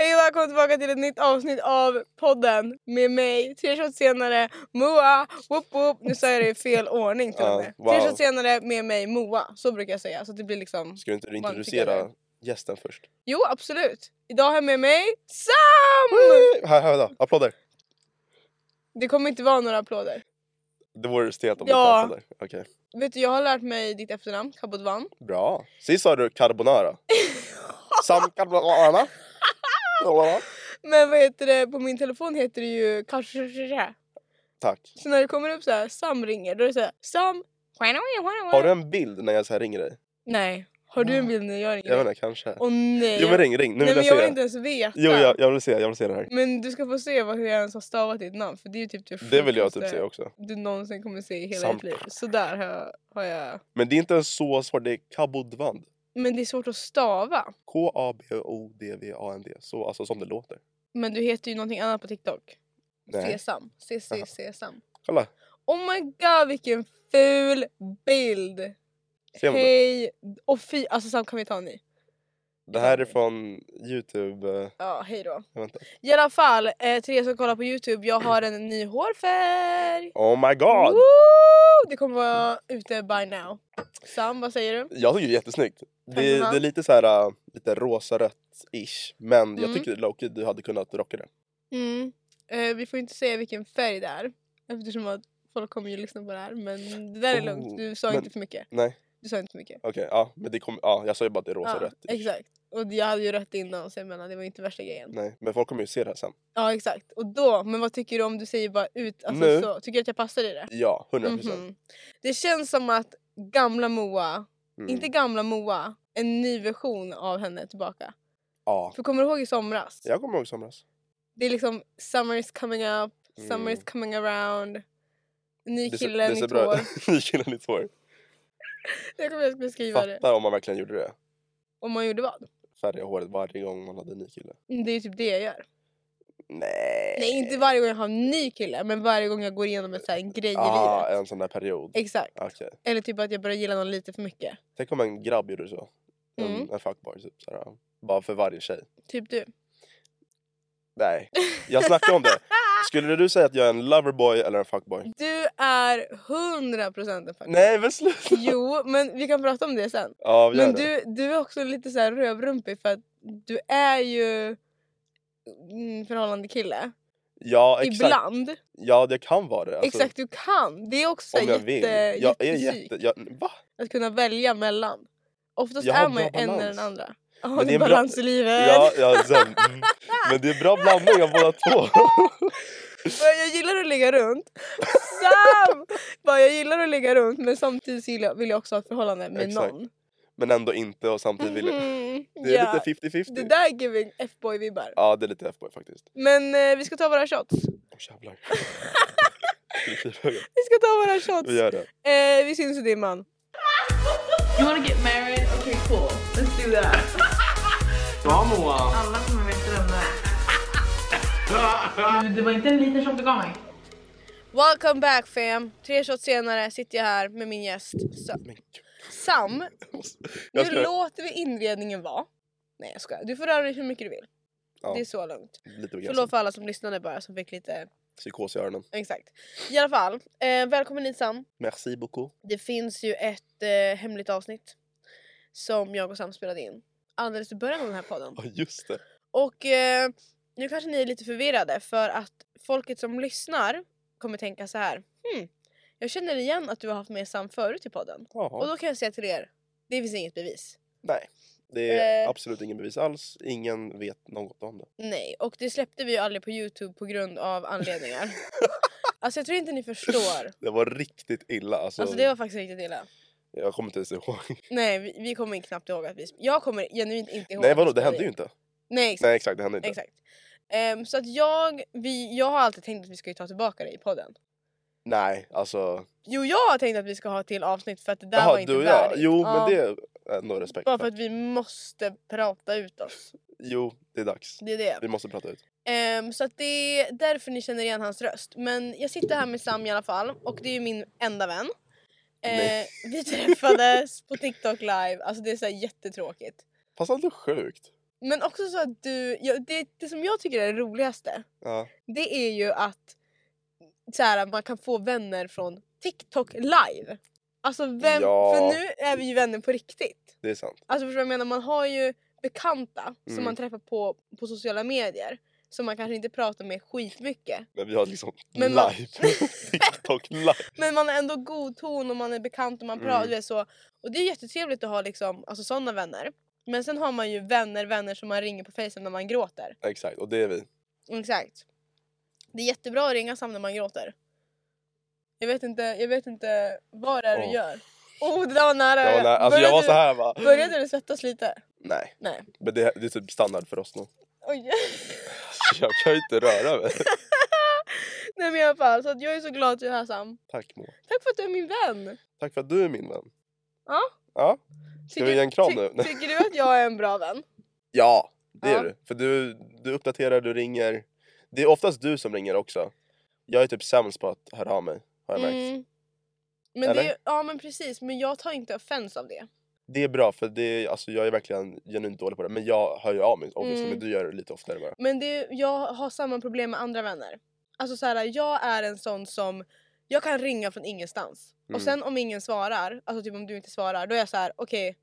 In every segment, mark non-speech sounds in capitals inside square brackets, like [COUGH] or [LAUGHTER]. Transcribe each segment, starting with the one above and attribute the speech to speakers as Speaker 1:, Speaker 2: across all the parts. Speaker 1: Hej och välkommen tillbaka till ett nytt avsnitt av podden med mig, tre shots senare, Moa, whoop whoop. Nu sa jag det i fel ordning till
Speaker 2: Ja,
Speaker 1: och med.
Speaker 2: wow.
Speaker 1: Tre shots senare med mig, Moa. Så brukar jag säga. Så att det blir liksom...
Speaker 2: Ska du inte
Speaker 1: Vad tycker
Speaker 2: introducera
Speaker 1: du?
Speaker 2: gästen först?
Speaker 1: Jo, absolut. Idag har jag med mig Sam!
Speaker 2: Här, här då. Applåder.
Speaker 1: Det kommer inte vara några applåder.
Speaker 2: Det vore stelt om
Speaker 1: Ja.
Speaker 2: det inte applåder. Okej.
Speaker 1: Vet du, jag har lärt mig ditt efternamn, Kabodvan.
Speaker 2: Bra. Sist sa
Speaker 1: [LAUGHS]
Speaker 2: du carbonara. Sam carbonara.
Speaker 1: Men vad heter det, på min telefon heter det ju kanske
Speaker 2: Tack.
Speaker 1: Så när det kommer upp så här, Sam ringer, då är det så här, Sam...
Speaker 2: Har du en bild när jag så här ringer dig?
Speaker 1: Nej. Har du en bild när jag ringer?
Speaker 2: Jag vet inte, kanske.
Speaker 1: Åh nej.
Speaker 2: Jo men ring, ring. Nu
Speaker 1: Nej
Speaker 2: vill
Speaker 1: men jag
Speaker 2: jag se
Speaker 1: vill
Speaker 2: det.
Speaker 1: inte ens veta.
Speaker 2: Jo, jag, jag vill se, jag vill se det här.
Speaker 1: Men du ska få se vad, hur jag ens har stavat ditt namn för det är ju typ det
Speaker 2: Det vill jag
Speaker 1: sjukaste
Speaker 2: typ se också.
Speaker 1: Du någonsin kommer se i hela
Speaker 2: Samp.
Speaker 1: ditt liv. Så där har jag, har jag...
Speaker 2: Men det är inte så svårt, det är kabodvand.
Speaker 1: Men det är svårt att stava.
Speaker 2: K-A-B-O-D-V-A-N-D. Så, alltså som det låter.
Speaker 1: Men du heter ju någonting annat på TikTok.
Speaker 2: Nej.
Speaker 1: Sesam.
Speaker 2: Jaha.
Speaker 1: CC Sesam.
Speaker 2: Kolla.
Speaker 1: Oh my god vilken ful bild!
Speaker 2: Ser man det?
Speaker 1: Hej! Och fy, alltså Sam kan vi ta en ny?
Speaker 2: Det här är från Youtube. eh,
Speaker 1: Ja, hej då.
Speaker 2: Jag vet inte.
Speaker 1: I alla fall, eh, till er som kollar på Youtube, jag har en ny hårfärg!
Speaker 2: Oh my god!
Speaker 1: Woo! Det kommer vara ute by now. Sam, vad säger du?
Speaker 2: Jag tycker det är jättesnyggt. Det,
Speaker 1: Tack.
Speaker 2: det är lite så här, äh, lite rosa-rött-ish. Men jag
Speaker 1: Mm.
Speaker 2: tycker Loki, du hade kunnat rocka det.
Speaker 1: Mm. Eh, vi får inte säga vilken färg det är eftersom att folk kommer ju lyssna på det här. Men det där är
Speaker 2: Oh,
Speaker 1: lugnt, du sa
Speaker 2: men-
Speaker 1: inte för mycket.
Speaker 2: Nej,
Speaker 1: Du sa inte för mycket.
Speaker 2: okej. ja, men det kom, ja, jag sa ju bara att det är
Speaker 1: Ja,
Speaker 2: rosa-rött.
Speaker 1: exakt. Och jag hade ju rätt innan så jag menar det var ju inte värsta grejen.
Speaker 2: Nej, men folk kommer ju se det här sen.
Speaker 1: Ja exakt. Och då, men vad tycker du om du säger bara ut? Alltså,
Speaker 2: Nu?
Speaker 1: Så, tycker du att jag passar i det?
Speaker 2: Ja, 100%. procent.
Speaker 1: Mhm. Det känns som att gamla Moa,
Speaker 2: Mm.
Speaker 1: inte gamla Moa, en ny version av henne är tillbaka.
Speaker 2: Ja.
Speaker 1: För kommer du ihåg i somras?
Speaker 2: Jag kommer ihåg somras.
Speaker 1: Det är liksom summer is coming up, summer is
Speaker 2: Mm.
Speaker 1: coming around. Ny
Speaker 2: Det ser-
Speaker 1: kille,
Speaker 2: det ser
Speaker 1: nytt [LAUGHS]
Speaker 2: bra
Speaker 1: hår.
Speaker 2: [LAUGHS] ut. Ny kille, nytt hår.
Speaker 1: Jag kommer att beskriva det.
Speaker 2: Fattar om man verkligen gjorde det.
Speaker 1: Om man gjorde vad?
Speaker 2: Färga håret varje gång man hade en ny kille.
Speaker 1: Mm, Det är ju typ det jag gör.
Speaker 2: Nej.
Speaker 1: Nej, inte varje gång jag har en ny kille, men varje gång jag går igenom en, så här, en grej i
Speaker 2: ah,
Speaker 1: livet.
Speaker 2: en sån där period.
Speaker 1: Exakt.
Speaker 2: Okej.
Speaker 1: Eller typ att jag börjar gilla någon lite för mycket.
Speaker 2: Tänk om en grabb gjorde så. En,
Speaker 1: Mm.
Speaker 2: en fuckboy typ. Så här, bara för varje tjej.
Speaker 1: Typ du.
Speaker 2: Nej, jag snackar
Speaker 1: [LAUGHS]
Speaker 2: om det. Skulle du säga att jag är en loverboy eller en fuckboy?
Speaker 1: Du är 100 procent en fuckboy.
Speaker 2: Nej [LAUGHS] men sluta!
Speaker 1: Jo, men vi kan prata om det sen.
Speaker 2: Ja, vi gör
Speaker 1: Men
Speaker 2: det.
Speaker 1: du, du är också lite så här rövrumpig för att du är ju mm, förhållande kille.
Speaker 2: ja, exakt.
Speaker 1: Ibland.
Speaker 2: Ja, det kan vara det. alltså,
Speaker 1: Exakt, du kan. Det är också
Speaker 2: om
Speaker 1: jätte,
Speaker 2: jag vill. Jag är
Speaker 1: jättepsyk.
Speaker 2: jätte... Jag, va?
Speaker 1: Att kunna välja mellan. Oftast
Speaker 2: Jag har
Speaker 1: är man ju
Speaker 2: bra
Speaker 1: en eller
Speaker 2: balans.
Speaker 1: den andra. Ja,
Speaker 2: det
Speaker 1: det
Speaker 2: är
Speaker 1: är
Speaker 2: en bra-
Speaker 1: balans i livet.
Speaker 2: Ja, ja, sen, mm. Men det är bra blandning av båda två. [LAUGHS]
Speaker 1: Bara, Jag gillar att ligga runt. Sam! Bara, jag gillar att ligga runt men samtidigt vill jag, vill jag också ha ett förhållande med
Speaker 2: Exakt.
Speaker 1: någon.
Speaker 2: Men ändå inte och samtidigt vill jag.
Speaker 1: Mhm,
Speaker 2: Det är
Speaker 1: ja.
Speaker 2: lite 50-50.
Speaker 1: Det där är giving F-boy-vibbar.
Speaker 2: Ja, det är lite F-boy faktiskt.
Speaker 1: Men eh, vi ska ta våra shots.
Speaker 2: Åh
Speaker 1: [LAUGHS]
Speaker 2: jävlar.
Speaker 1: Vi ska ta våra shots.
Speaker 2: Vi gör det.
Speaker 1: Eh, vi syns i dimman.
Speaker 3: You wanna get married? Okay, cool. Let's do that. Oh,
Speaker 4: Bra Moa!
Speaker 3: Alla kommer veta vem det är. Det var inte en liten som begav mig.
Speaker 1: Welcome back fam! Tre shots senare sitter jag här med min gäst Sa-
Speaker 2: Men gud.
Speaker 1: Sam.
Speaker 2: jag måste-
Speaker 1: Nu
Speaker 2: Jag ska...
Speaker 1: låter vi inredningen vara. Nej jag skojar. Du får röra dig hur mycket du vill.
Speaker 2: Ja,
Speaker 1: Det är så lugnt.
Speaker 2: lite
Speaker 1: Förlåt
Speaker 2: begränsad.
Speaker 1: för alla som lyssnade bara som fick lite...
Speaker 2: Psykos i öronen.
Speaker 1: Exakt. I alla fall, eh, välkommen hit Sam.
Speaker 2: Merci beaucoup.
Speaker 1: Det finns ju ett eh, hemligt avsnitt som jag och Sam spelade in alldeles i början av den här podden.
Speaker 2: Ja, just det.
Speaker 1: Och eh, nu kanske ni är lite förvirrade för att folket som lyssnar kommer tänka så här. Hmm, jag känner igen att du har haft med Sam förut i podden. Och
Speaker 2: Ja.
Speaker 1: då kan jag säga till er, det finns inget bevis.
Speaker 2: Nej. Det är
Speaker 1: Eh.
Speaker 2: absolut ingen bevis alls. Ingen vet något om det.
Speaker 1: Nej, och det släppte vi ju aldrig på Youtube på grund av
Speaker 2: [LAUGHS]
Speaker 1: anledningar. alltså jag tror inte ni förstår.
Speaker 2: Det var riktigt illa. Alltså,
Speaker 1: Alltså det var faktiskt riktigt illa.
Speaker 2: Jag kommer inte ens ihåg.
Speaker 1: Nej, vi, vi kommer knappt ihåg att vi... Jag kommer genuint inte ihåg
Speaker 2: Nej
Speaker 1: att vi
Speaker 2: vadå, det hände
Speaker 1: spelade
Speaker 2: ju
Speaker 1: in.
Speaker 2: inte.
Speaker 1: Nej, exakt.
Speaker 2: Nej exakt, det hände inte.
Speaker 1: exakt. Ehm, så att jag, vi, jag har alltid tänkt att vi ska ju ta tillbaka det i podden.
Speaker 2: Nej, alltså.
Speaker 1: Jo, jag har tänkt att vi ska ha ett till avsnitt för att det där var
Speaker 2: Jaha,
Speaker 1: inte
Speaker 2: du och jag.
Speaker 1: värdigt.
Speaker 2: Jo,
Speaker 1: Ja,
Speaker 2: men det är ändå respekt
Speaker 1: Bara
Speaker 2: för.
Speaker 1: för att vi måste prata ut oss.
Speaker 2: Jo, det är dags.
Speaker 1: Det är det.
Speaker 2: Vi måste prata ut.
Speaker 1: Ehm, så att det är därför ni känner igen hans röst. Men jag sitter här med Sam i alla fall och det är ju min enda vän. Ehm,
Speaker 2: Nej.
Speaker 1: vi träffades på TikTok live, alltså det är så här jättetråkigt.
Speaker 2: Fast ändå sjukt.
Speaker 1: Men också så att du, ja, det, det som jag tycker är det roligaste
Speaker 2: Ja.
Speaker 1: det är ju att så här, man kan få vänner från TikTok live. Alltså vem,
Speaker 2: Ja.
Speaker 1: för nu är vi ju vänner på riktigt.
Speaker 2: Det är sant.
Speaker 1: Alltså förstår du vad jag menar? Man har ju bekanta som
Speaker 2: Mm.
Speaker 1: man träffar på, på sociala medier som man kanske inte pratar med skitmycket.
Speaker 2: Men vi har liksom
Speaker 1: Men man-
Speaker 2: live. [LAUGHS] TikTok live.
Speaker 1: Men man har ändå god ton och man är bekant och man pratar.
Speaker 2: Mm.
Speaker 1: du vet så. Och det är jättetrevligt att ha liksom, alltså, sådana vänner. Men sen har man ju vänner, vänner som man ringer på Facetime när man gråter.
Speaker 2: Exakt, och det är vi.
Speaker 1: Exakt. Det är jättebra att ringa Sam när man gråter. Jag vet inte, jag vet inte vad det är du
Speaker 2: Åh.
Speaker 1: gör. Oh, det där var nära!
Speaker 2: Jag var, nä- alltså, jag var så här va.
Speaker 1: Du, började du svettas lite?
Speaker 2: Nej,
Speaker 1: Nej.
Speaker 2: men det, det är typ standard för oss nu. [LAUGHS]
Speaker 1: Oj. [LAUGHS]
Speaker 2: Alltså, jag kan ju inte röra mig.
Speaker 1: Nej men i alla fall, så att jag är så glad att du är här Sam.
Speaker 2: Tack Moa.
Speaker 1: Tack för att du är min vän!
Speaker 2: Tack för att du är min vän.
Speaker 1: Ja.
Speaker 2: Ja, Ska vi ge en kram nu?
Speaker 1: Tycker du att jag är en bra vän?
Speaker 2: ja det
Speaker 1: Ja.
Speaker 2: är du. För du, du uppdaterar, du ringer. Det är oftast du som ringer också. Jag är typ sämst på att höra av mig har jag märkt.
Speaker 1: Mm. Men
Speaker 2: Eller?
Speaker 1: det, ja men precis, men jag tar inte offens av det.
Speaker 2: Det är bra för det, alltså, jag är verkligen genuint dålig på det. Men jag hör ju av mig obviously,
Speaker 1: Mm.
Speaker 2: men du gör det lite oftare bara.
Speaker 1: Men det, jag har samma problem med andra vänner. Alltså så här, jag är en sån som jag kan ringa från ingenstans.
Speaker 2: Mm.
Speaker 1: Och sen om ingen svarar, alltså typ om du inte svarar, då är jag så här, okej,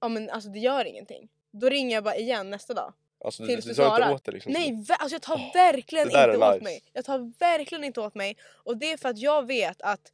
Speaker 1: ja men alltså det gör ingenting. Då ringer jag bara igen nästa dag.
Speaker 2: Alltså, du,
Speaker 1: Tills
Speaker 2: du
Speaker 1: du
Speaker 2: sa inte
Speaker 1: svarar.
Speaker 2: åt det liksom.
Speaker 1: Typ Nej, ver- alltså jag tar
Speaker 2: Åh,
Speaker 1: verkligen
Speaker 2: det där
Speaker 1: inte
Speaker 2: är
Speaker 1: åt
Speaker 2: nice.
Speaker 1: mig. Jag tar verkligen inte åt mig. Och det är för att jag vet att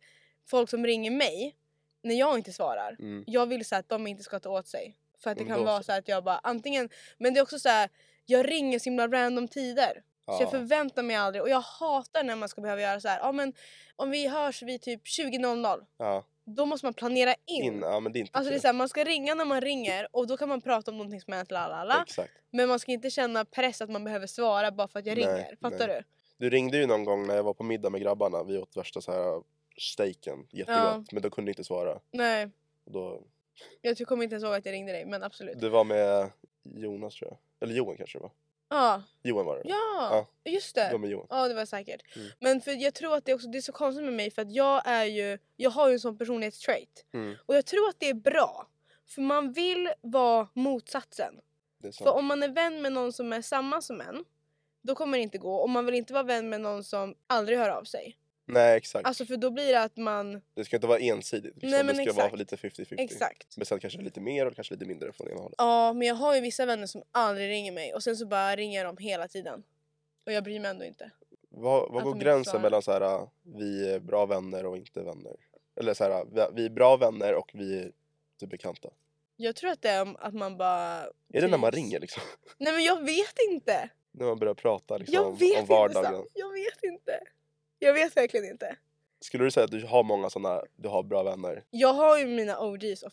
Speaker 1: folk som ringer mig, när jag inte svarar,
Speaker 2: Mm.
Speaker 1: jag vill så här att de inte ska ta åt sig. För att det
Speaker 2: Men
Speaker 1: kan
Speaker 2: då
Speaker 1: vara
Speaker 2: så.
Speaker 1: så här att jag bara antingen... Men det är också så här, jag ringer så himla random tider. Så jag
Speaker 2: Ja.
Speaker 1: förväntar mig aldrig och jag hatar när man ska behöva göra så här. Ja men om vi hörs vid typ 20.00.
Speaker 2: Ja,
Speaker 1: Då måste man planera in.
Speaker 2: in. Ja, men det är inte
Speaker 1: Alltså det är
Speaker 2: kul.
Speaker 1: så här, man ska ringa när man ringer och då kan man prata om någonting som har hänt la, la, la.
Speaker 2: Exakt.
Speaker 1: Men man ska inte känna press att man behöver svara bara för att jag
Speaker 2: Nej,
Speaker 1: ringer. Fattar
Speaker 2: nej.
Speaker 1: du?
Speaker 2: Du ringde ju någon gång när jag var på middag med grabbarna. Vi åt värsta så här steaken, jättegott.
Speaker 1: Ja.
Speaker 2: Men då kunde jag inte svara.
Speaker 1: Nej.
Speaker 2: Och Då,
Speaker 1: Jag kommer inte ens ihåg att jag ringde dig men absolut.
Speaker 2: det var med Jonas tror jag. Eller Johan kanske det var.
Speaker 1: Ja.
Speaker 2: Johan var det.
Speaker 1: Ja. Just det.
Speaker 2: Det var med Johan.
Speaker 1: Ja det var säkert.
Speaker 2: Mm.
Speaker 1: Men för jag tror att det, är också, det är så konstigt med mig för att jag är ju, jag har ju en sån personlighetstrait.
Speaker 2: Mm,
Speaker 1: Och jag tror att det är bra. För man vill vara motsatsen.
Speaker 2: det är
Speaker 1: För
Speaker 2: sant.
Speaker 1: om man är vän med någon som är samma som en, då kommer det inte gå. Och man vill inte vara vän med någon som aldrig hör av sig.
Speaker 2: Nej exakt.
Speaker 1: Alltså för då blir det att man,
Speaker 2: det ska inte vara ensidigt. Liksom.
Speaker 1: Nej, men
Speaker 2: det ska
Speaker 1: exakt.
Speaker 2: vara lite 50-50.
Speaker 1: exakt.
Speaker 2: Men sen kanske lite mer och kanske lite mindre från ena hållet.
Speaker 1: Ja men jag har ju vissa vänner som aldrig ringer mig och sen så bara ringer de hela tiden. Och jag bryr mig ändå inte.
Speaker 2: Vad, vad
Speaker 1: Att
Speaker 2: går
Speaker 1: de inte
Speaker 2: gränsen
Speaker 1: svarar.
Speaker 2: mellan så här, ah, vi är bra vänner och inte vänner? Eller så här, ah, vi- vi är bra vänner och vi är typ bekanta.
Speaker 1: Jag tror att det är om att man bara...
Speaker 2: Är det när man
Speaker 1: trivs.
Speaker 2: ringer liksom? [LAUGHS]
Speaker 1: Nej men jag vet inte!
Speaker 2: När man börjar prata liksom,
Speaker 1: Jag
Speaker 2: om,
Speaker 1: vet
Speaker 2: om
Speaker 1: inte
Speaker 2: vardagen?
Speaker 1: Sam. Jag vet inte. Jag vet verkligen inte.
Speaker 2: Skulle du säga att du har många såna, du har bra vänner?
Speaker 1: Jag har ju mina OGs of,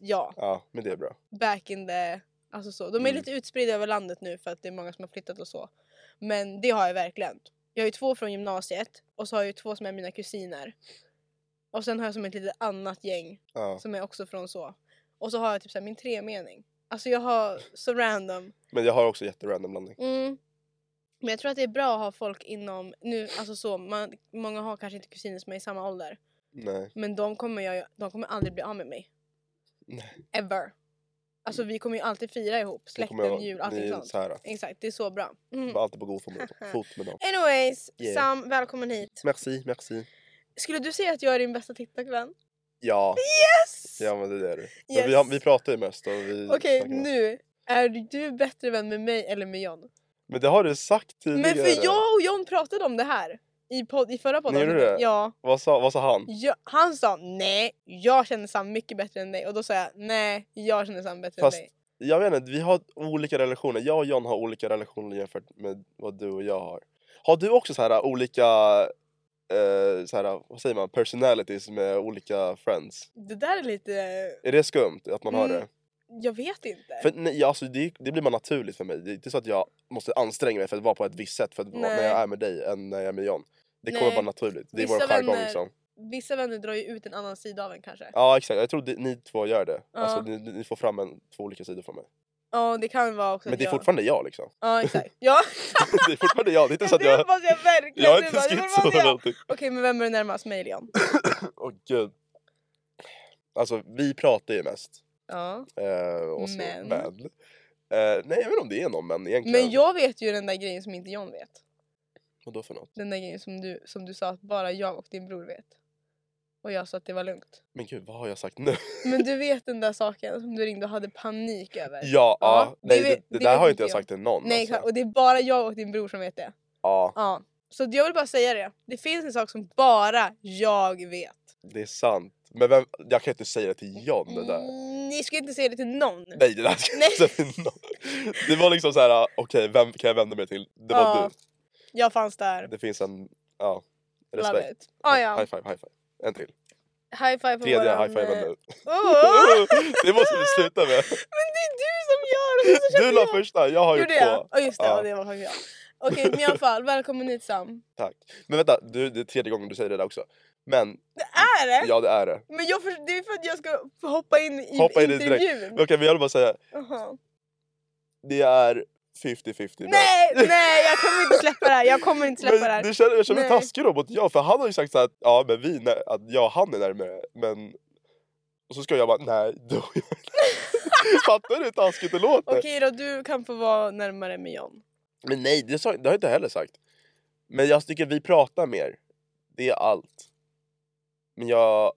Speaker 1: ja,
Speaker 2: Ja, men det är bra.
Speaker 1: back in the... Alltså så. De är
Speaker 2: Mm.
Speaker 1: lite utspridda över landet nu för att det är många som har flyttat och så. Men det har jag verkligen. Jag har ju två från gymnasiet och så har jag ju två som är mina kusiner. Och sen har jag som ett litet annat gäng
Speaker 2: Ja.
Speaker 1: som är också från så. Och så har jag typ så här min tremening. Alltså jag har så random.
Speaker 2: Men jag har också jätterandom blandning.
Speaker 1: Mm. Men jag tror att det är bra att ha folk inom, nu alltså så, man, många har kanske inte kusiner som är i samma ålder.
Speaker 2: Nej.
Speaker 1: Men de kommer, jag, de kommer aldrig bli av med mig.
Speaker 2: Nej.
Speaker 1: Ever. Alltså vi kommer ju alltid fira ihop,
Speaker 2: Det kommer
Speaker 1: släkten,
Speaker 2: jag-
Speaker 1: jul,
Speaker 2: ni
Speaker 1: allting
Speaker 2: är
Speaker 1: sånt.
Speaker 2: Så här,
Speaker 1: Exakt, det är så bra. Mm.
Speaker 2: var alltid på god
Speaker 1: [LAUGHS]
Speaker 2: fot med, fot med dem.
Speaker 1: Anyways,
Speaker 2: Yeah.
Speaker 1: Sam, välkommen hit.
Speaker 2: Merci, merci.
Speaker 1: Skulle du säga att jag är din bästa TikTok-vän?
Speaker 2: Ja,
Speaker 1: Yes!
Speaker 2: ja men det är du. Men
Speaker 1: Yes.
Speaker 2: vi, har, vi pratar ju mest och vi
Speaker 1: Okej,
Speaker 2: snackar mest.
Speaker 1: nu. Är du bättre vän med mig eller med John?
Speaker 2: Men det har du sagt tidigare.
Speaker 1: Men för jag och John pratade om det här i, podd, i förra podden.
Speaker 2: gjorde det?
Speaker 1: Ja.
Speaker 2: Vad sa, vad sa han?
Speaker 1: Ja, han sa nej, jag känner Sam mycket bättre än dig och då sa jag nej, jag känner Sam bättre
Speaker 2: Fast-
Speaker 1: än dig.
Speaker 2: Jag vet inte, vi har olika relationer. Jag och John har olika relationer jämfört med vad du och jag har. Har du också så här olika eh, så här, vad säger man, personalities med olika friends.
Speaker 1: Det där är lite...
Speaker 2: Är det skumt att man har
Speaker 1: Mm.
Speaker 2: det?
Speaker 1: Jag vet inte.
Speaker 2: För nej, alltså, det, det blir bara naturligt för mig. Det är inte så att jag måste anstränga mig för att vara på ett visst sätt för att vara- när
Speaker 1: Nej.
Speaker 2: jag är med dig än när jag är med John. Det kommer
Speaker 1: Nej.
Speaker 2: bara naturligt. Det är
Speaker 1: Vissa
Speaker 2: vår jargong
Speaker 1: vänner-
Speaker 2: liksom.
Speaker 1: Vissa vänner drar ju ut en annan sida av en kanske.
Speaker 2: Ja exakt, jag tror det, ni två gör det.
Speaker 1: Ja.
Speaker 2: Alltså, ni, ni får fram en, två olika sidor från mig.
Speaker 1: Ja, det kan vara också
Speaker 2: Men
Speaker 1: att
Speaker 2: det är
Speaker 1: jag-
Speaker 2: fortfarande jag liksom.
Speaker 1: Ja, exakt. Ja,
Speaker 2: det är fortfarande jag, [LAUGHS] det är inte så
Speaker 1: [LAUGHS]
Speaker 2: att
Speaker 1: det
Speaker 2: jag...
Speaker 1: hoppas jag verkligen.
Speaker 2: Jag har
Speaker 1: Du
Speaker 2: inte
Speaker 1: bara, det
Speaker 2: skrivit
Speaker 1: var
Speaker 2: så
Speaker 1: jag.
Speaker 2: någonting.
Speaker 1: Okej, men vem är närmast mig eller John?
Speaker 2: Åh gud. Alltså vi pratar ju mest.
Speaker 1: Ja.
Speaker 2: Eh, och så,
Speaker 1: Men?
Speaker 2: men? Eh, nej jag vet inte om det är någon men egentligen.
Speaker 1: Men jag vet ju den där grejen som inte John vet.
Speaker 2: Vadå för något?
Speaker 1: Den där grejen som du, som du sa att bara jag och din bror vet. Och jag sa att det var lugnt.
Speaker 2: Men gud vad har jag
Speaker 1: [LAUGHS]
Speaker 2: sagt nu?
Speaker 1: Men du vet den där saken som du ringde och hade panik över?
Speaker 2: ja, ja.
Speaker 1: det
Speaker 2: nej, det,
Speaker 1: vet-
Speaker 2: det,
Speaker 1: det
Speaker 2: där
Speaker 1: vet inte
Speaker 2: har inte jag
Speaker 1: jag.
Speaker 2: sagt till någon.
Speaker 1: Nej,
Speaker 2: alltså.
Speaker 1: och det är bara jag och din bror som vet det.
Speaker 2: Ja,
Speaker 1: Ja. Så jag vill bara säga det. Det finns en sak som bara jag vet.
Speaker 2: det är sant. Men vem, jag kan inte säga det till John det där.
Speaker 1: Mm, Ni ska inte säga det till någon.
Speaker 2: Nej det där ska jag
Speaker 1: Nej.
Speaker 2: inte säga till någon. Det var liksom så här, okej vem kan jag vända mig till? Det var
Speaker 1: Ja, Jag fanns
Speaker 2: du.
Speaker 1: där.
Speaker 2: Det finns en, ja.
Speaker 1: Love
Speaker 2: Respekt.
Speaker 1: it. Ah, ja.
Speaker 2: High five, high five. En till.
Speaker 1: High five på
Speaker 2: Tredje
Speaker 1: våran... eh,
Speaker 2: high five nu. [LAUGHS]
Speaker 1: Oh!
Speaker 2: det måste vi sluta med.
Speaker 1: Men det är du som gör det! [LAUGHS] så
Speaker 2: Du la
Speaker 1: jag.
Speaker 2: första, jag har gjort
Speaker 1: Gjorde jag?
Speaker 2: två.
Speaker 1: Ja just det,
Speaker 2: Ja.
Speaker 1: ja. det var faktiskt jag. Okej men i alla fall, välkommen hit Sam.
Speaker 2: Tack. Men vänta, du, det är tredje gången du säger det där också. Men
Speaker 1: Är det?
Speaker 2: ja, det är det.
Speaker 1: Men jag för, det är för att jag ska få hoppa in i
Speaker 2: Hoppa in i det direkt.
Speaker 1: intervjun.
Speaker 2: Okej, men jag vill bara säga,
Speaker 1: Jaha.
Speaker 2: det är 50-50 där.
Speaker 1: Nej, nej jag kommer inte släppa det här. Jag kommer inte släppa det
Speaker 2: Men
Speaker 1: här.
Speaker 2: du känner, jag känner mig
Speaker 1: Nej.
Speaker 2: taskig då mot jag, för han har ju sagt så här att ja, men vi, när, att jag och han är närmare, men... Och så ska jag bara, nej, du och jag är närmare. [LAUGHS] Fattar du hur taskigt det låter?
Speaker 1: Okej då, du kan få vara närmare med John.
Speaker 2: Men nej, det, sa, det har jag inte heller sagt. Men jag tycker vi pratar mer. Det är allt. Men jag...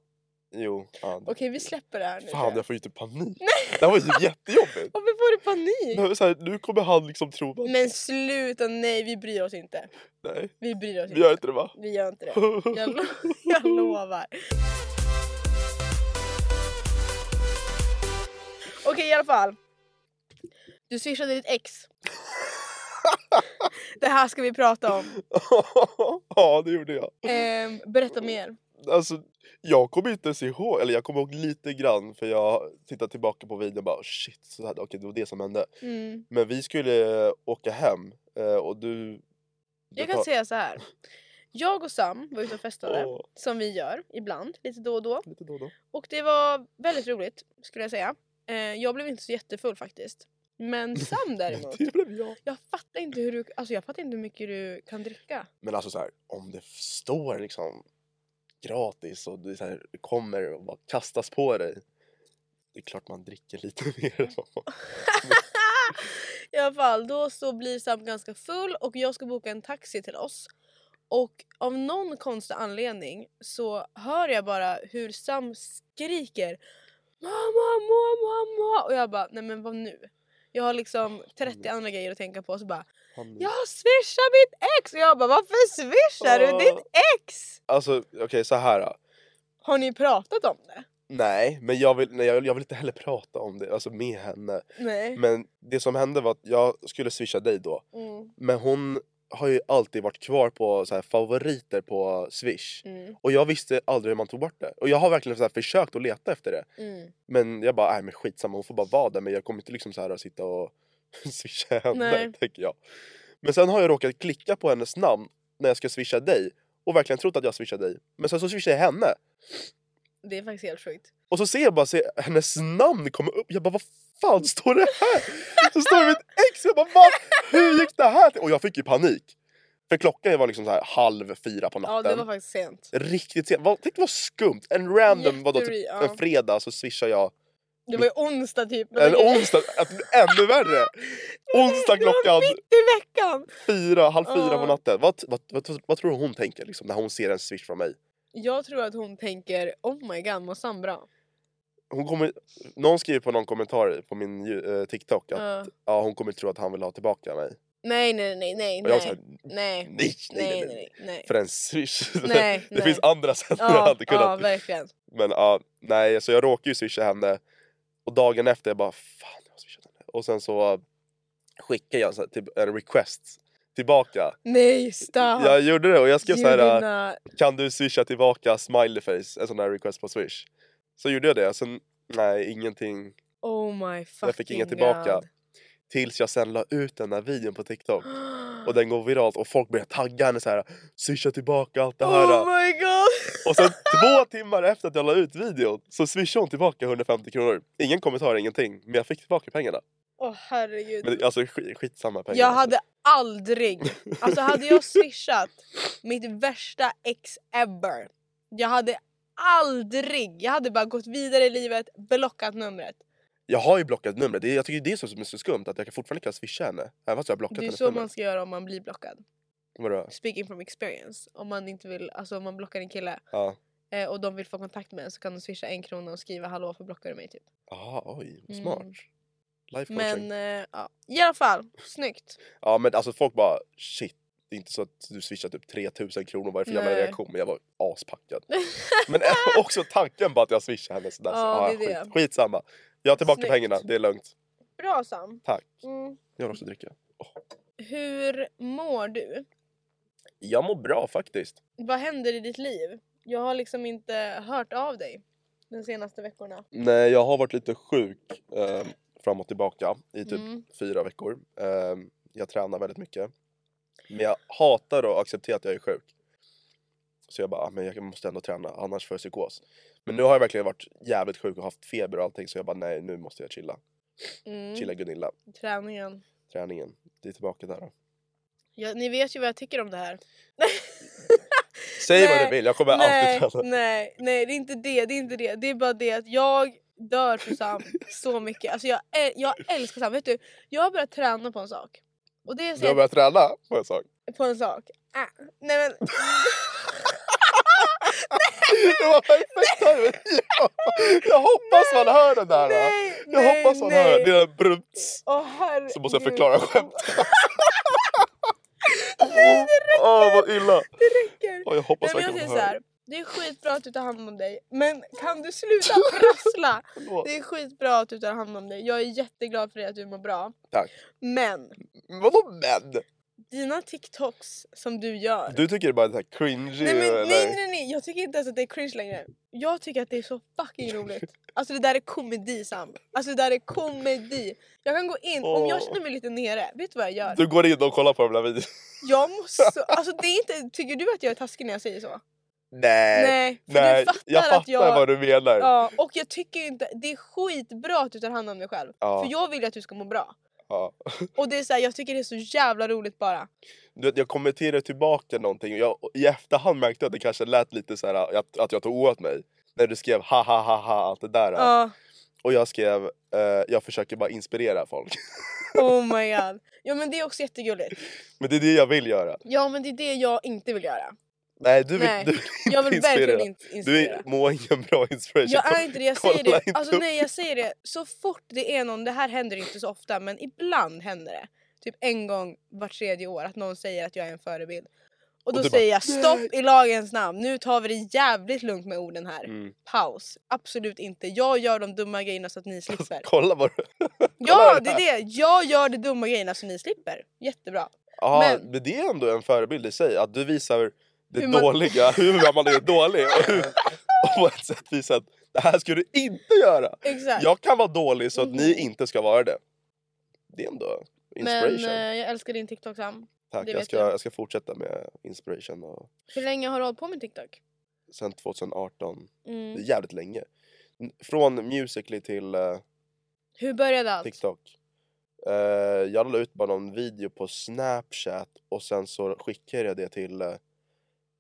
Speaker 2: Jo. Ja,
Speaker 1: Okej vi släpper det här nu. tror
Speaker 2: Fan,
Speaker 1: jag.
Speaker 2: jag får ju inte panik. Det här var ju [LAUGHS] jättejobbigt.
Speaker 1: Varför får du panik?
Speaker 2: Men så här, nu kommer han liksom tro att...
Speaker 1: Men sluta, nej vi bryr oss inte.
Speaker 2: Nej,
Speaker 1: Vi bryr oss
Speaker 2: vi
Speaker 1: inte.
Speaker 2: gör inte det va?
Speaker 1: Vi gör inte
Speaker 2: [LAUGHS]
Speaker 1: det. Jag, lo- [LAUGHS] jag lovar. Okej i alla fall. Du swishade ditt ex. [LAUGHS] Det här ska vi prata om.
Speaker 2: ja, det gjorde jag.
Speaker 1: Ehm, berätta mer.
Speaker 2: Alltså, jag kommer inte ens ihåg, eller jag kommer ihåg lite grann för jag tittar tillbaka på videon och bara shit, så här, okej det var det som hände.
Speaker 1: Mm.
Speaker 2: Men vi skulle åka hem eh, och du... du
Speaker 1: Jag kan
Speaker 2: tar-
Speaker 1: säga så här. Jag och Sam var ute och festade,
Speaker 2: Åh,
Speaker 1: som vi gör ibland, lite då och då.
Speaker 2: lite då och då.
Speaker 1: Och det var väldigt roligt skulle jag säga. Eh, jag blev inte så jättefull faktiskt. Men Sam däremot.
Speaker 2: [LAUGHS] Det blev jag.
Speaker 1: Jag fattar inte hur du, alltså jag fattar inte hur mycket du kan dricka.
Speaker 2: Men alltså så här, om det står liksom gratis och det så här, kommer och bara kastas på dig. Det är klart man dricker lite [LAUGHS] mer. än vad man-
Speaker 1: I alla fall, då så blir Sam ganska full och jag ska boka en taxi till oss. Och av någon konstig anledning så hör jag bara hur Sam skriker Mamma, mamma, mamma! Och jag bara, nej men vad nu? Jag har liksom
Speaker 2: Mm.
Speaker 1: 30 andra grejer att tänka på och så bara
Speaker 2: Han-
Speaker 1: Jag swishar mitt ex! Och jag bara, varför swishar du ditt ex?
Speaker 2: Alltså okej så här. då.
Speaker 1: Har ni pratat om det?
Speaker 2: Nej, men jag vill, nej, jag, vill, jag vill inte heller prata om det, alltså med henne.
Speaker 1: Nej.
Speaker 2: Men det som hände var att jag skulle swisha dig då.
Speaker 1: Mm.
Speaker 2: Men hon har ju alltid varit kvar på så här, favoriter på swish.
Speaker 1: Mm.
Speaker 2: Och jag visste aldrig hur man tog bort det. Och jag har verkligen så här, försökt att leta efter det.
Speaker 1: Mm.
Speaker 2: Men jag bara, nej men skitsamma hon får bara vara där men jag kommer inte liksom så här att sitta och [LAUGHS] swisha henne
Speaker 1: Nej.
Speaker 2: tänker jag. Men sen har jag råkat klicka på hennes namn när jag ska swisha dig och verkligen trott att jag swishar dig. Men sen så swishar jag henne
Speaker 1: Det är faktiskt helt sjukt.
Speaker 2: och så ser jag bara se, hennes namn komma upp. Jag bara, vad fan står det här? Så står det mitt ex. Jag bara, vad? Hur gick det här? till?" Och jag fick ju panik. För klockan var liksom så här halv fyra
Speaker 1: Ja,
Speaker 2: på natten.
Speaker 1: det var faktiskt sent.
Speaker 2: Riktigt sent. Vad- Tänk vad skumt. En random, vadå,
Speaker 1: Jätteri-
Speaker 2: typ
Speaker 1: ja.
Speaker 2: en fredag så swishar jag
Speaker 1: Det var ju onsdag typ. men
Speaker 2: Eller
Speaker 1: okej.
Speaker 2: onsdag, att-
Speaker 1: [LAUGHS]
Speaker 2: ännu värre! Onsdag
Speaker 1: Det var
Speaker 2: klockan
Speaker 1: mitt i veckan!
Speaker 2: fyra, halv fyra på
Speaker 1: Ja.
Speaker 2: natten. Vad, vad, vad, vad tror du hon tänker liksom, när hon ser en swish från mig?
Speaker 1: Jag tror att hon tänker oh my god, mår Sam bra?
Speaker 2: Hon kommer, någon skriver på någon kommentar på min ju- eh, TikTok att
Speaker 1: Ja.
Speaker 2: ja, hon kommer tro att han vill ha tillbaka mig.
Speaker 1: Nej, nej, nej, nej,
Speaker 2: Och jag var
Speaker 1: nej,
Speaker 2: såhär,
Speaker 1: nej, nej,
Speaker 2: nej, nej,
Speaker 1: nej,
Speaker 2: nej.
Speaker 1: nej, nej.
Speaker 2: För en swish. [LAUGHS]
Speaker 1: Nej,
Speaker 2: det
Speaker 1: nej.
Speaker 2: finns andra sätt jag
Speaker 1: Ja,
Speaker 2: hade kunnat.
Speaker 1: ja, verkligen.
Speaker 2: Men ja, nej, så jag råkar ju swisha henne. Och dagen efter jag bara, fan jag har swishat henne. Och sen så skickar jag så här, typ en request tillbaka.
Speaker 1: Nej, stopp!
Speaker 2: Jag gjorde det och jag skrev så här. äh,
Speaker 1: Julina,
Speaker 2: kan du swisha tillbaka smileyface, en sån här request på swish. Så gjorde jag det, sen nej ingenting,
Speaker 1: oh my fucking
Speaker 2: jag fick inget tillbaka.
Speaker 1: God.
Speaker 2: Tills jag sen la ut den här videon
Speaker 1: [GASPS]
Speaker 2: på TikTok och den går viralt och folk börjar tagga henne så här. swisha tillbaka allt det här.
Speaker 1: Oh my god! [LAUGHS]
Speaker 2: och sen två timmar efter att jag la ut videon så swishade hon tillbaka 150 kronor. Ingen kommentar, ingenting, men jag fick tillbaka pengarna.
Speaker 1: Åh herregud.
Speaker 2: Men det- alltså sk- skitsamma pengar. alltså.
Speaker 1: jag hade aldrig, alltså hade
Speaker 2: [LAUGHS]
Speaker 1: jag swishat mitt värsta ex ever. Jag hade aldrig, jag hade bara gått vidare i livet, blockat numret.
Speaker 2: Jag har ju blockat numret, Det är- jag tycker det är så, som är så skumt att jag kan fortfarande kan swisha henne. Även fast jag har blockat
Speaker 1: Det är
Speaker 2: hennes
Speaker 1: så
Speaker 2: nummer.
Speaker 1: man ska göra om man blir blockad.
Speaker 2: Vadå?
Speaker 1: Speaking from experience. Om man inte vill, alltså om man blockar en kille
Speaker 2: Ja.
Speaker 1: eh, och de vill få kontakt med en så kan de swisha en krona och skriva hallå varför blockar du mig typ.
Speaker 2: Jaha, oj, vad
Speaker 1: Mm.
Speaker 2: smart. Life coaching.
Speaker 1: Men eh, ja, i alla fall, snyggt.
Speaker 2: Ja men alltså folk bara shit. Det är inte så att du swishar typ 3000 kronor, vad är det för jävla
Speaker 1: Nej.
Speaker 2: reaktion? Men jag var
Speaker 1: [LAUGHS]
Speaker 2: aspackad. Men [LAUGHS] också tanken på att jag swishar henne sådär. så,
Speaker 1: Ja,
Speaker 2: ah,
Speaker 1: det är det.
Speaker 2: skit, skitsamma. Jag har tillbaka
Speaker 1: Snyggt.
Speaker 2: pengarna, det är lugnt.
Speaker 1: Bra Sam.
Speaker 2: Tack.
Speaker 1: Mm.
Speaker 2: Jag vill också dricka.
Speaker 1: Hur mår du?
Speaker 2: Jag mår bra faktiskt.
Speaker 1: Vad händer i ditt liv? Jag har liksom inte hört av dig de senaste veckorna.
Speaker 2: Nej jag har varit lite sjuk eh, fram och tillbaka i typ
Speaker 1: Mm.
Speaker 2: fyra veckor. Eh, jag tränar väldigt mycket. Men jag hatar att acceptera att jag är sjuk. Så jag bara, "Ah, men jag måste ändå träna annars får jag psykos. Men nu har jag verkligen varit jävligt sjuk och haft feber och allting så jag bara nej nu måste jag chilla. Chilla
Speaker 1: Mm.
Speaker 2: Gunilla,
Speaker 1: Träningen.
Speaker 2: träningen. Det är tillbaka där. då.
Speaker 1: Ja, ni vet ju vad jag tycker om det här. [LAUGHS]
Speaker 2: Säg vad
Speaker 1: Nej,
Speaker 2: du vill, jag kommer
Speaker 1: nej,
Speaker 2: alltid träna.
Speaker 1: nej, nej, det är inte det. Det är inte det. Det är bara det att jag dör för Sam så mycket. Alltså jag, äl- jag älskar Sam. Vet du, jag har börjat träna på en sak. Och det är så
Speaker 2: Du har börjat träna på en sak.
Speaker 1: på en sak. Ah, nej men
Speaker 2: Det var perfekt timing. Ja. Jag hoppas man hör den där. va?
Speaker 1: nej,
Speaker 2: Jag
Speaker 1: nej,
Speaker 2: hoppas man
Speaker 1: nej.
Speaker 2: hör. Det är en brunts.
Speaker 1: Åh herregud.
Speaker 2: Så måste jag förklara skämt. Åh vad illa.
Speaker 1: Det räcker.
Speaker 2: Åh, jag
Speaker 1: Nej,
Speaker 2: hoppas
Speaker 1: men jag säger
Speaker 2: verkligen
Speaker 1: så
Speaker 2: man hör.
Speaker 1: här. Det är skitbra att du tar hand om dig, men kan du
Speaker 2: [LAUGHS]
Speaker 1: sluta prassla?
Speaker 2: Förlåt.
Speaker 1: Det är skitbra att du tar hand om dig. Jag är jätteglad för dig att du mår bra.
Speaker 2: Tack.
Speaker 1: Men
Speaker 2: Vadå men?
Speaker 1: dina TikToks som du gör.
Speaker 2: Du tycker det bara är så här cringy
Speaker 1: Nej, men,
Speaker 2: eller?
Speaker 1: nej nej nej, jag tycker inte ens att det är cringe längre. Jag tycker att det är så
Speaker 2: [LAUGHS]
Speaker 1: fucking roligt. Alltså det där är komedi Sam. Alltså det där är komedi. Jag kan gå in, om jag
Speaker 2: Åh.
Speaker 1: känner mig lite nere, vet du vad jag gör?
Speaker 2: Du går in och kollar på de där videorna?
Speaker 1: Jag
Speaker 2: [LAUGHS]
Speaker 1: måste, alltså det är inte, tycker du att jag är taskig när jag säger så?
Speaker 2: Nej.
Speaker 1: Nej, för
Speaker 2: Nej,
Speaker 1: du fattar,
Speaker 2: jag fattar
Speaker 1: att jag...
Speaker 2: vad du menar.
Speaker 1: Ja, och jag tycker inte, det är skitbra att du tar hand om dig själv.
Speaker 2: Ja.
Speaker 1: För jag vill ju att du ska må bra.
Speaker 2: Ja.
Speaker 1: Och det är så här, jag tycker det är så jävla roligt bara.
Speaker 2: Du vet, jag kommenterade tillbaka någonting och jag, i efterhand märkte jag att det kanske lät lite så här att, att jag tog åt mig. När du skrev ha ha ha ha allt det där.
Speaker 1: Ja,
Speaker 2: Och jag skrev eh, jag försöker bara inspirera folk.
Speaker 1: oh my god. Ja men det är också jättegulligt.
Speaker 2: Men det är det jag vill göra.
Speaker 1: Ja men det är det jag inte vill göra.
Speaker 2: Nej du vill,
Speaker 1: Nej,
Speaker 2: Du vill inte
Speaker 1: Jag vill
Speaker 2: inspirera.
Speaker 1: verkligen inte
Speaker 2: Du
Speaker 1: inspirera.
Speaker 2: är må ingen bra inspiration.
Speaker 1: Jag är inte det, jag säger
Speaker 2: Kolla
Speaker 1: det.
Speaker 2: inte
Speaker 1: Alltså
Speaker 2: upp.
Speaker 1: nej jag säger det. Så fort det är någon, det här händer inte så ofta men ibland händer det. Typ en gång vart tredje år att någon säger att jag är en förebild. Och då
Speaker 2: du bara,
Speaker 1: säger jag stopp i lagens namn, nu tar vi det jävligt lugnt med orden här.
Speaker 2: Mm.
Speaker 1: Paus, absolut inte. Jag gör de dumma grejerna så att ni slipper.
Speaker 2: [LAUGHS] Kolla vad du...
Speaker 1: Ja
Speaker 2: kolla
Speaker 1: det är det, jag gör de dumma grejerna så ni slipper. Jättebra.
Speaker 2: Ja,
Speaker 1: Men-
Speaker 2: men... det är ändå en förebild i sig. Att du visar det
Speaker 1: Hur man- [LAUGHS]
Speaker 2: dåliga, hur man är dålig. Och, hur, och på ett sätt visar att det här ska du inte göra.
Speaker 1: Exakt.
Speaker 2: Jag kan vara dålig så att ni inte ska vara det. Det är ändå
Speaker 1: Mm-hmm. Men
Speaker 2: inspiration.
Speaker 1: eh, jag älskar din TikTok Sam.
Speaker 2: Tack,
Speaker 1: det
Speaker 2: jag
Speaker 1: vet
Speaker 2: ska,
Speaker 1: du.
Speaker 2: jag ska fortsätta med inspiration. Och,
Speaker 1: Hur länge har du hållit på med TikTok?
Speaker 2: sen 2018, det
Speaker 1: Mm.
Speaker 2: är jävligt länge. N- Från Musical.ly till eh,
Speaker 1: Hur började allt?
Speaker 2: TikTok. Eh, jag la ut bara någon video på Snapchat och sen så skickade jag det till uh,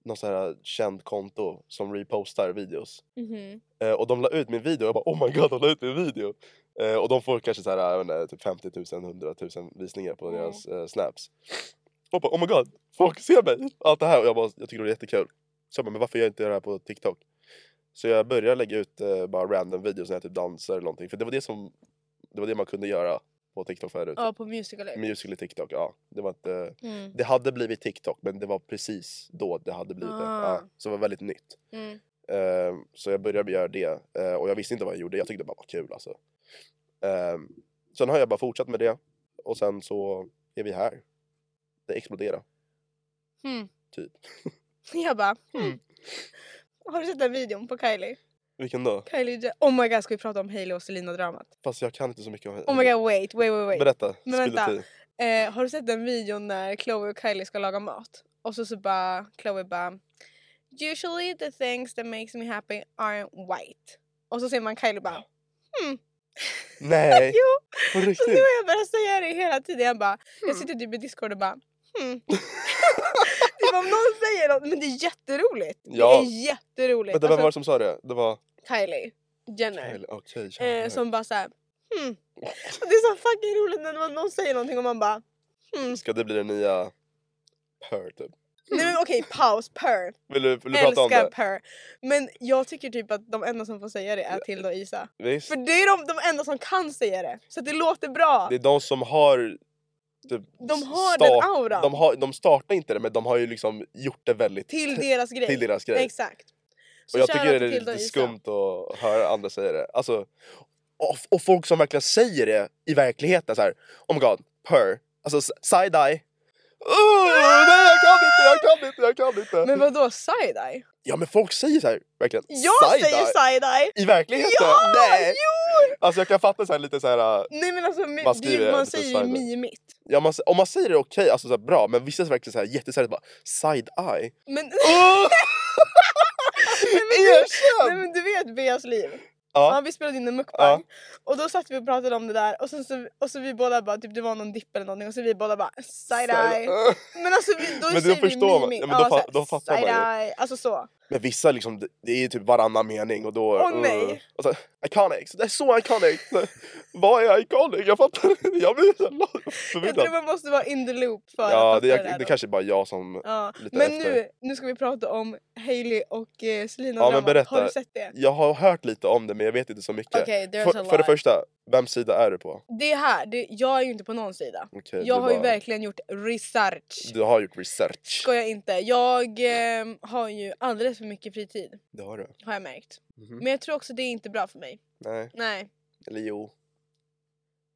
Speaker 2: någon sån här känd konto som repostar videos.
Speaker 1: Mhm.
Speaker 2: Eh, och de la ut min video och jag bara oh my god de la ut min video. Eh, och de får kanske så här, jag vet inte, typ 50 000, 100 000 visningar på
Speaker 1: Mm.
Speaker 2: deras eh, snaps. Och bara oh my god, folk ser mig! Allt det här och jag bara, jag tycker det är jättekul. Så jag bara, men varför gör jag inte det här på TikTok? Så jag började lägga ut eh, bara random videos när jag typ dansar eller någonting. För det var det som, det var det man kunde göra på TikTok förut.
Speaker 1: Ja, på Musical.ly.
Speaker 2: Musical.ly TikTok, ja. Det var inte,
Speaker 1: Mm.
Speaker 2: det hade blivit TikTok men det var precis då det hade blivit det.
Speaker 1: Ah.
Speaker 2: Ja, så det var väldigt nytt.
Speaker 1: Mm.
Speaker 2: Eh, så jag började göra det. Eh, och jag visste inte vad jag gjorde. Jag tyckte det bara var kul alltså. Ehm, Eh, sen har jag bara fortsatt med det. Och sen så är vi här. Det exploderade.
Speaker 1: Hmm.
Speaker 2: Typ.
Speaker 1: [LAUGHS] Jag bara
Speaker 2: Mm.
Speaker 1: hmm. Har du sett den videon på Kylie?
Speaker 2: Vilken då?
Speaker 1: Kylie Je- oh my god ska vi prata om Hailey och Selena-dramat?
Speaker 2: Fast jag kan inte så mycket om henne.
Speaker 1: Oh my god wait wait wait wait.
Speaker 2: Berätta,
Speaker 1: Men
Speaker 2: spill
Speaker 1: vänta.
Speaker 2: the tea.
Speaker 1: Eh, har du sett den videon när Chloe och Kylie ska laga mat? Och så, så bara Chloe bara Usually the things that makes me happy aren't white. Och så ser man Kylie bara
Speaker 2: Nej,
Speaker 1: [LAUGHS] jo! Så
Speaker 2: på
Speaker 1: nu
Speaker 2: riktigt.
Speaker 1: har jag börjat säga det hela tiden. Jag, bara, jag
Speaker 2: Mm.
Speaker 1: sitter typ i discord och bara
Speaker 2: [LAUGHS]
Speaker 1: hmm. typ om någon säger något, men det är jätteroligt.
Speaker 2: Ja.
Speaker 1: Det är jätteroligt. Alltså,
Speaker 2: Vänta, vem var det som sa det? Det var...
Speaker 1: Kylie Jenner.
Speaker 2: Okej, okay,
Speaker 1: Eh, som bara såhär hmm. Och [LAUGHS] det är så fucking roligt när någon- någon säger någonting och man bara hmm.
Speaker 2: Ska det bli den nya... Purr, typ?
Speaker 1: Nej men okej paus, purr.
Speaker 2: Vill du, vill du prata om
Speaker 1: Älskar
Speaker 2: det?
Speaker 1: purr. Men jag tycker typ att de enda som får säga det är Tilda och Isa.
Speaker 2: Visst?
Speaker 1: För det är de, de enda som kan säga det. Så att det låter bra.
Speaker 2: Det är de som har... Typ,
Speaker 1: De har
Speaker 2: start-
Speaker 1: den auran.
Speaker 2: De, har, de startar inte det, men de har ju liksom gjort det väldigt...
Speaker 1: Till deras grej.
Speaker 2: till deras grej.
Speaker 1: Exakt. Så
Speaker 2: Och jag
Speaker 1: shoutout
Speaker 2: tycker det är
Speaker 1: till Tilda
Speaker 2: lite
Speaker 1: och Isa.
Speaker 2: skumt att höra andra säga det. Alltså, och, och folk som verkligen säger det i verkligheten så här. Oh my god, purr. Alltså s- side-eye. Oh, nej jag kan inte, jag kan inte, jag kan inte.
Speaker 1: Men vadå side-eye?
Speaker 2: Ja men folk säger så här, verkligen.
Speaker 1: Jag säger side-eye!
Speaker 2: I verkligheten?
Speaker 1: Ja!
Speaker 2: nej!
Speaker 1: Jo!
Speaker 2: Alltså jag kan fatta så här lite så här. äh,
Speaker 1: Nej men alltså mi-
Speaker 2: Man
Speaker 1: det-
Speaker 2: skriver
Speaker 1: man
Speaker 2: lite
Speaker 1: säger ju
Speaker 2: side-eye.
Speaker 1: mimigt.
Speaker 2: Ja, man, om man säger det okej, alltså så här, bra. Men vissa är verkligen så här jätteseriöst bara side-eye.
Speaker 1: Men,
Speaker 2: Oh!
Speaker 1: nej, men, du, nej
Speaker 2: Erkänn!
Speaker 1: men du vet Beas liv. Ja.
Speaker 2: Ja,
Speaker 1: vi spelade in en mukbang och då satt vi och pratade om det där och sen så, och så vi båda bara typ det var någon dipp eller någonting och så vi båda bara side-eye.
Speaker 2: side-eye.
Speaker 1: Men alltså vi, då
Speaker 2: Men då
Speaker 1: säger vi
Speaker 2: förstår man.
Speaker 1: miming.
Speaker 2: Ja, men då
Speaker 1: så
Speaker 2: fa-
Speaker 1: här,
Speaker 2: då fattar man ju.
Speaker 1: side-eye. Alltså så.
Speaker 2: [LAUGHS] Men vissa liksom, det- det är ju typ varannan mening och då... mm.
Speaker 1: Åh, nej.
Speaker 2: Och så, iconic, det är så iconic! Vad är iconic? Jag fattar inte, jag blir så la-
Speaker 1: Jag tror
Speaker 2: förvirrad.
Speaker 1: man måste vara in the loop för
Speaker 2: Ja,
Speaker 1: att
Speaker 2: det,
Speaker 1: fatta det,
Speaker 2: är,
Speaker 1: där
Speaker 2: det
Speaker 1: då.
Speaker 2: kanske är bara jag som...
Speaker 1: Ja.
Speaker 2: lite
Speaker 1: Men
Speaker 2: efter.
Speaker 1: nu, nu ska vi prata om Hailey och eh, Selena
Speaker 2: Ja, men
Speaker 1: dramat.
Speaker 2: berätta.
Speaker 1: Har du sett det?
Speaker 2: Jag har hört lite om det men jag vet inte så mycket.
Speaker 1: Okej, there's a
Speaker 2: för, för det
Speaker 1: lot.
Speaker 2: första, vems sida är du på?
Speaker 1: Det här, det, jag är ju inte på någon sida.
Speaker 2: Okej,
Speaker 1: jag
Speaker 2: du
Speaker 1: har ju
Speaker 2: bara-
Speaker 1: verkligen gjort research.
Speaker 2: Du har gjort research.
Speaker 1: Skojar inte. Jag eh, har ju alldeles för mycket fritid
Speaker 2: Det har du.
Speaker 1: har jag märkt.
Speaker 2: Mhm.
Speaker 1: Men jag tror också det är inte bra för mig.
Speaker 2: Nej,
Speaker 1: Nej,
Speaker 2: eller jo.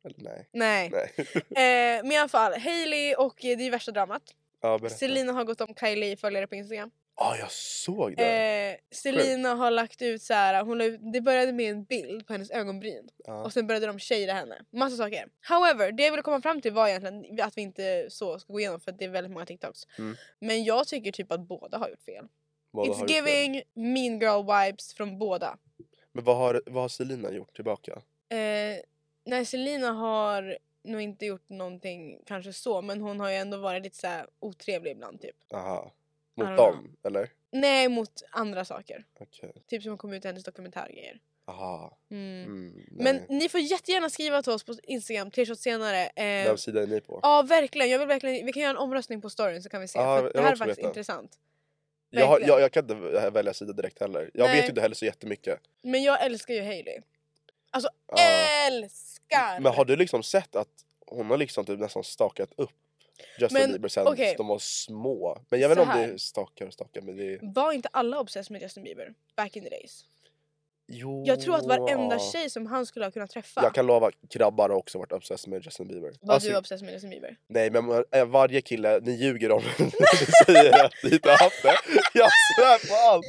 Speaker 2: Eller nej.
Speaker 1: nej.
Speaker 2: Nej. [LAUGHS]
Speaker 1: Eh, men i alla fall, Hailey och eh, det är värsta dramat.
Speaker 2: ja, berätta.
Speaker 1: Selina har gått om Kylie följare på Instagram.
Speaker 2: Ja, jag såg det.
Speaker 1: Eh, Selina har lagt ut så här, hon la ut, det började med en bild på hennes ögonbryn.
Speaker 2: ja.
Speaker 1: Och sen började de shada henne. Massa saker. However, det jag ville komma fram till var egentligen att vi inte så ska gå igenom för att det är väldigt många TikToks.
Speaker 2: Mm.
Speaker 1: Men jag tycker typ att båda har gjort fel.
Speaker 2: Vad har
Speaker 1: It's
Speaker 2: du för-
Speaker 1: giving mean girl vibes från båda.
Speaker 2: Men vad har, vad har Selina gjort tillbaka?
Speaker 1: Eh, nej, Selina har nog inte gjort någonting kanske så men hon har ju ändå varit lite så här otrevlig ibland typ.
Speaker 2: Aha.
Speaker 1: I
Speaker 2: Mot
Speaker 1: don't know.
Speaker 2: dem, eller?
Speaker 1: Nej, mot andra saker.
Speaker 2: Okej.
Speaker 1: Typ som kom ut i hennes dokumentärgrejer.
Speaker 2: Aha.
Speaker 1: Mm.
Speaker 2: Mm,
Speaker 1: Men
Speaker 2: nej.
Speaker 1: ni får jättegärna skriva till oss på Instagram, tre shots senare. Eh,
Speaker 2: Vems sida är ni på?
Speaker 1: Ja verkligen, jag vill verkligen, vi kan göra en omröstning på storyn så kan vi se.
Speaker 2: Ja,
Speaker 1: för
Speaker 2: jag
Speaker 1: det
Speaker 2: vill
Speaker 1: här är
Speaker 2: också
Speaker 1: faktiskt
Speaker 2: veta.
Speaker 1: intressant.
Speaker 2: jag, har,
Speaker 1: verkligen.
Speaker 2: jag, jag kan inte välja sida direkt heller. Jag
Speaker 1: Nej.
Speaker 2: vet ju inte heller så jättemycket.
Speaker 1: Men jag älskar ju Hailey. Alltså
Speaker 2: Ja.
Speaker 1: älskar!
Speaker 2: Men har du liksom sett att hon har liksom typ nästan stakat upp Justin
Speaker 1: Men,
Speaker 2: Bieber sen
Speaker 1: okej.
Speaker 2: de var små? Men jag vet
Speaker 1: Så
Speaker 2: inte om det
Speaker 1: här.
Speaker 2: är stakar och stakar men det är...
Speaker 1: Var inte alla obsessed med Justin Bieber back in the days?
Speaker 2: Jo,
Speaker 1: Jag tror att varenda
Speaker 2: ja.
Speaker 1: tjej som han skulle ha kunnat träffa
Speaker 2: Jag kan lova, grabbar har också varit obsessed med Justin Bieber.
Speaker 1: var
Speaker 2: Alltså,
Speaker 1: du obsessed med Justin Bieber.
Speaker 2: Nej men man- eh, varje kille, ni ljuger om [LAUGHS] ni säger att ni inte har haft det. Jag svär på allt!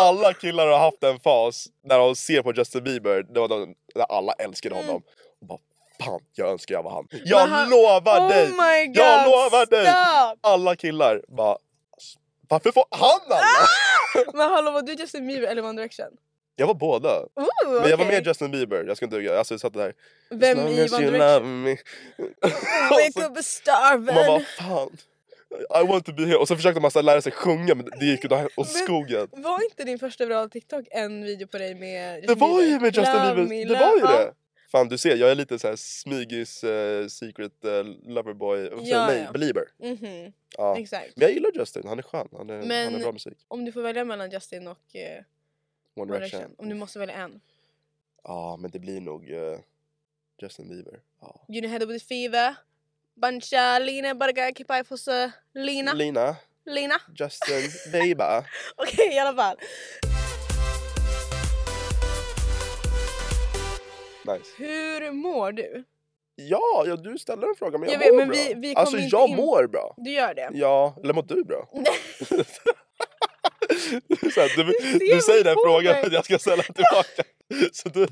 Speaker 2: Alla killar har haft en fas när de ser på Justin Bieber, det var de, när alla älskade honom. Och bara, fan jag önskar jag var han. Jag
Speaker 1: Mm. han-
Speaker 2: lovar
Speaker 1: oh
Speaker 2: dig!
Speaker 1: my god!
Speaker 2: jag lovar dig!
Speaker 1: Stop!
Speaker 2: Alla killar bara, varför får han alla?
Speaker 1: Ah! Men hallå var du Justin Bieber eller One Direction?
Speaker 2: Jag var båda.
Speaker 1: Ooh,
Speaker 2: Men jag var
Speaker 1: okej.
Speaker 2: mer Justin Bieber, jag ska inte ljuga. Alltså, jag satt där.
Speaker 1: Vem
Speaker 2: "As long
Speaker 1: i
Speaker 2: as
Speaker 1: One
Speaker 2: you
Speaker 1: Direction?
Speaker 2: love me." [LAUGHS] Och så-
Speaker 1: Wake up a star
Speaker 2: Och man bara
Speaker 1: vän!
Speaker 2: fan, I want to be here. Och så försökte man så här lära sig sjunga men det gick åt åt
Speaker 1: Men-
Speaker 2: skogen.
Speaker 1: Var inte din första virala TikTok en video på dig med Justin
Speaker 2: Det var ju
Speaker 1: Bieber?
Speaker 2: med Justin
Speaker 1: Love
Speaker 2: Bieber,
Speaker 1: me,
Speaker 2: det
Speaker 1: love-
Speaker 2: var ju
Speaker 1: ja.
Speaker 2: det! Fan du ser, jag är lite så här smygis eh, secret eh, loverboy, vad säger
Speaker 1: Ja,
Speaker 2: man? nej
Speaker 1: ja.
Speaker 2: belieber.
Speaker 1: Mhm,
Speaker 2: Ja.
Speaker 1: Exakt.
Speaker 2: Men jag gillar Justin, han är skön, han är, han
Speaker 1: Men-
Speaker 2: är bra musik.
Speaker 1: Om du får välja mellan Justin och eh,
Speaker 2: One
Speaker 1: One
Speaker 2: Direction.
Speaker 1: Direction. Om du måste välja en.
Speaker 2: Ja men det blir nog eh, Justin Bieber. Ja.
Speaker 1: You know how to with the fever. Bancha, Lina, Barga, Kipai, Fosse, Lina.
Speaker 2: Lina,
Speaker 1: Lina. [LAUGHS]
Speaker 2: Justin Bieber.
Speaker 1: Okej i alla fall.
Speaker 2: Nice.
Speaker 1: Hur mår du?
Speaker 2: Ja, ja du ställer en fråga men jag,
Speaker 1: Jag vet,
Speaker 2: mår
Speaker 1: men
Speaker 2: bra.
Speaker 1: vi- vi
Speaker 2: alltså
Speaker 1: kommer inte
Speaker 2: jag
Speaker 1: in-
Speaker 2: mår bra.
Speaker 1: Du gör det?
Speaker 2: Ja, eller mår
Speaker 1: [LAUGHS]
Speaker 2: du bra? så här, du,
Speaker 1: ser
Speaker 2: du säger den
Speaker 1: på
Speaker 2: frågan
Speaker 1: mig.
Speaker 2: för att jag ska ställa tillbaka. så du,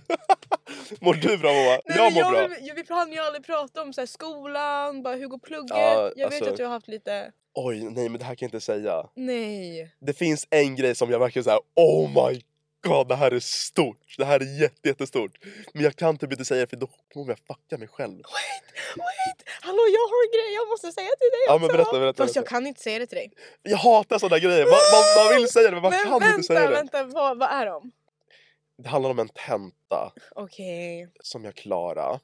Speaker 2: [LAUGHS] mår du bra Moa?
Speaker 1: Nej,
Speaker 2: jag
Speaker 1: men
Speaker 2: mår
Speaker 1: jag,
Speaker 2: bra.
Speaker 1: vill- Jag, vi hann ju aldrig prata om så här, skolan, bara hur går plugget?
Speaker 2: Ja,
Speaker 1: jag vet
Speaker 2: alltså-
Speaker 1: att du har haft lite...
Speaker 2: Oj, nej men det här kan jag inte säga.
Speaker 1: Nej.
Speaker 2: Det finns en grej som jag verkligen såhär, oh my god det här är stort. Det här är jätte, jättestort. Men jag kan typ inte säga det för då kommer jag fucka mig själv.
Speaker 1: Wait! Hallå jag har en grej jag måste säga till dig
Speaker 2: Ja,
Speaker 1: också!
Speaker 2: men berätta, berätta,
Speaker 1: Fast jag
Speaker 2: berätta.
Speaker 1: kan inte säga det till dig.
Speaker 2: Jag hatar sådana grejer. Man, man, man vill säga det men man
Speaker 1: men
Speaker 2: kan
Speaker 1: vänta,
Speaker 2: inte säga det.
Speaker 1: vänta, vad, vad är de?
Speaker 2: Det handlar om en tenta
Speaker 1: Okej.
Speaker 2: som jag klarade.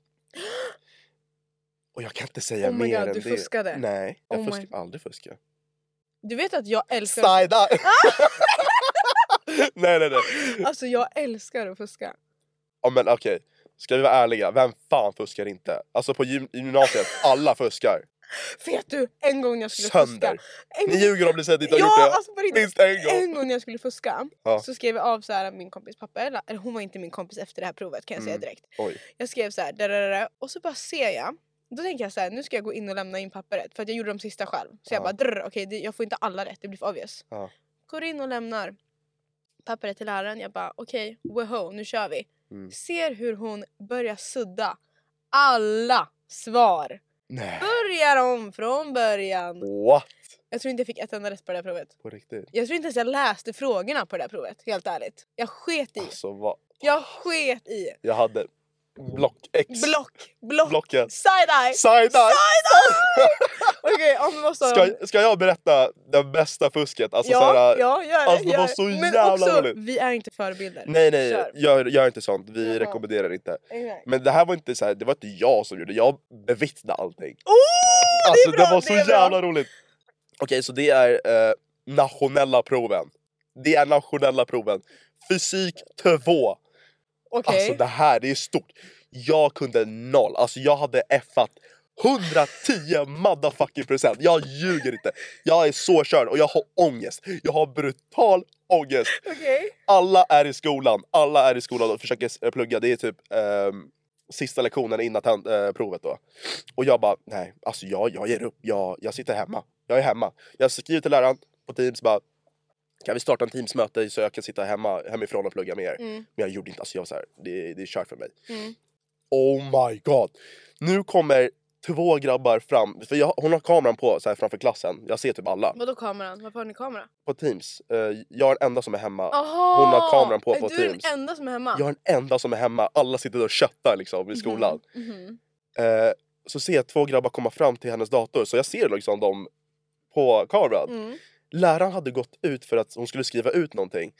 Speaker 2: Och jag kan inte säga
Speaker 1: Oh my
Speaker 2: mer
Speaker 1: god,
Speaker 2: än
Speaker 1: du
Speaker 2: det.
Speaker 1: fuskade.
Speaker 2: Nej, jag
Speaker 1: Oh my-
Speaker 2: fuskar aldrig fuska.
Speaker 1: Du vet att jag Ah! älskar...
Speaker 2: Sajda! [LAUGHS] nej, nej, nej.
Speaker 1: Alltså jag älskar att fuska.
Speaker 2: Ja, men okej, ska vi vara ärliga, vem fan fuskar inte? Alltså på gym- gymnasiet, alla fuskar.
Speaker 1: Vet du? En gång när jag skulle
Speaker 2: Sönder.
Speaker 1: fuska... En...
Speaker 2: Ni ljuger om ni säger att ni inte har
Speaker 1: ja,
Speaker 2: gjort det.
Speaker 1: alltså på riktigt.
Speaker 2: Minst en gång.
Speaker 1: En gång när jag skulle fuska
Speaker 2: Ja.
Speaker 1: så skrev jag av så här, min kompis pappa, eller eller hon var inte min kompis efter det här provet kan jag säga
Speaker 2: Mm.
Speaker 1: direkt.
Speaker 2: Oj.
Speaker 1: Jag skrev så här, där, där, där, och så bara ser jag. Då tänker jag så här, nu ska jag gå in och lämna in pappret för att jag gjorde de sista själv. Så jag
Speaker 2: Ja.
Speaker 1: bara, drr, okej det- jag får inte alla rätt, det blir för obvious.
Speaker 2: Ja.
Speaker 1: Går in och lämnar pappret till läraren, jag bara okej, woho, nu kör vi.
Speaker 2: Mm.
Speaker 1: Ser hur hon börjar sudda alla svar.
Speaker 2: Nej.
Speaker 1: Börjar om från början.
Speaker 2: What?
Speaker 1: Jag tror inte jag fick ett enda rätt på det här provet.
Speaker 2: På riktigt?
Speaker 1: Jag tror inte ens jag läste frågorna på det där provet, helt ärligt. Jag sket i.
Speaker 2: Alltså vad?
Speaker 1: Jag sket i.
Speaker 2: Jag hade block-X.
Speaker 1: Block, block,
Speaker 2: Blocket.
Speaker 1: side-eye!
Speaker 2: Sajda!
Speaker 1: Okej, alltså, om vi måste ha dem.
Speaker 2: Ska, ska jag berätta det bästa fusket? Alltså, så
Speaker 1: Ja,
Speaker 2: här,
Speaker 1: ja, gör det.
Speaker 2: alltså, det
Speaker 1: gör
Speaker 2: var
Speaker 1: det.
Speaker 2: så
Speaker 1: Men
Speaker 2: jävla
Speaker 1: också,
Speaker 2: roligt.
Speaker 1: vi är inte förebilder.
Speaker 2: Nej nej, Alltså,
Speaker 1: Kör.
Speaker 2: gör, gör inte sånt. Vi
Speaker 1: Jaha.
Speaker 2: rekommenderar inte.
Speaker 1: Exakt.
Speaker 2: Men det här var inte så här, det var inte jag som gjorde det. Jag bevittnade allting.
Speaker 1: Oh,
Speaker 2: alltså
Speaker 1: det, är bra,
Speaker 2: det var så
Speaker 1: är bra.
Speaker 2: jävla roligt. Okej, så det är eh, nationella proven. Det är nationella proven. Fysik 2.
Speaker 1: Okej.
Speaker 2: Alltså det här, det är stort. Jag kunde noll. Alltså jag hade effat 110 motherfucking procent. Jag ljuger inte. Jag är så körd och jag har ångest. Jag har brutal ångest.
Speaker 1: Okej.
Speaker 2: Alla är i skolan, alla är i skolan och försöker eh, plugga. Det är typ ehm, sista lektionen innan ten- eh, provet då. Och jag bara, nej, alltså jag, jag ger upp. Jag, jag sitter hemma. Jag är hemma. Jag skriver till läraren på Teams bara, kan vi starta en Teams-möte så jag kan sitta hemma, hemifrån och plugga med er?
Speaker 1: Mm.
Speaker 2: Men jag gjorde inte, alltså jag var så här, det, det är kört för mig.
Speaker 1: Mm.
Speaker 2: Oh my god! Nu kommer två grabbar fram, för jag, hon har kameran på så här, framför klassen. Jag ser typ alla
Speaker 1: Vadå kameran? Varför har ni kamera?
Speaker 2: på Teams. Eh, jag är den enda som är hemma.
Speaker 1: Aha!
Speaker 2: Hon har kameran på
Speaker 1: Är
Speaker 2: på
Speaker 1: du
Speaker 2: Teams.
Speaker 1: Du är den enda som är hemma?
Speaker 2: Jag är den enda som är hemma. Alla sitter och köttar liksom i skolan.
Speaker 1: Mhm, mhm.
Speaker 2: Eh, så ser jag två grabbar komma fram till hennes dator. Så jag ser liksom dem på kameran.
Speaker 1: Mm.
Speaker 2: Läraren hade gått ut för att hon skulle skriva ut någonting.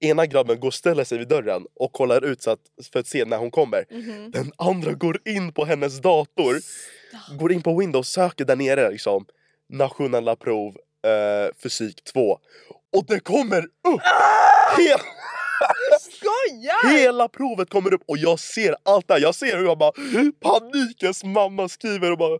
Speaker 2: Ena grabben går och ställer sig vid dörren och kollar ut så att, för att se när hon kommer.
Speaker 1: mhm.
Speaker 2: Den andra går in på hennes dator. Går in på Windows, söker där nere liksom. Nationella prov, eh, fysik 2. Och det kommer upp!
Speaker 1: Ah!
Speaker 2: Hela,
Speaker 1: Skojar!
Speaker 2: hela provet kommer upp och jag ser allt det här. Jag ser hur jag bara panikens mamma skriver och bara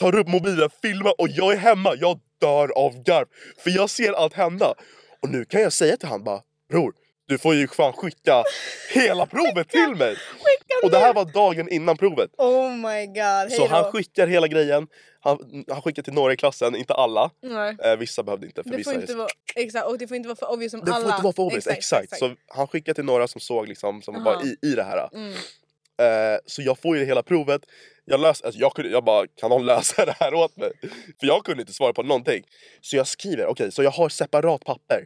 Speaker 2: tar upp mobilen, filmar och jag är hemma. Jag dör av garv. För jag ser allt hända. Och nu kan jag säga till han bara bror, du får ju fan skicka hela provet till mig.
Speaker 1: Skicka
Speaker 2: Och det här
Speaker 1: nu.
Speaker 2: var dagen innan provet.
Speaker 1: Oh my god, hej
Speaker 2: Så han
Speaker 1: då.
Speaker 2: skickar hela grejen. Han, han skickar till några i klassen, inte alla.
Speaker 1: Nej.
Speaker 2: Eh, vissa behövde inte. För
Speaker 1: Det
Speaker 2: vissa
Speaker 1: får
Speaker 2: är-
Speaker 1: inte vara, exakt, och det får inte vara för obvious som
Speaker 2: det
Speaker 1: alla.
Speaker 2: får inte vara för obvious. Exakt, Så han skickar till några som såg liksom, som var
Speaker 1: Aha.
Speaker 2: i, i det här.
Speaker 1: Mm.
Speaker 2: Eh, så jag får ju det hela provet. Jag, lös, alltså jag, kunde, jag bara, kan någon [LAUGHS] lösa det här åt mig? För jag kunde inte svara på någonting. Så jag skriver, okej, så jag har separat papper.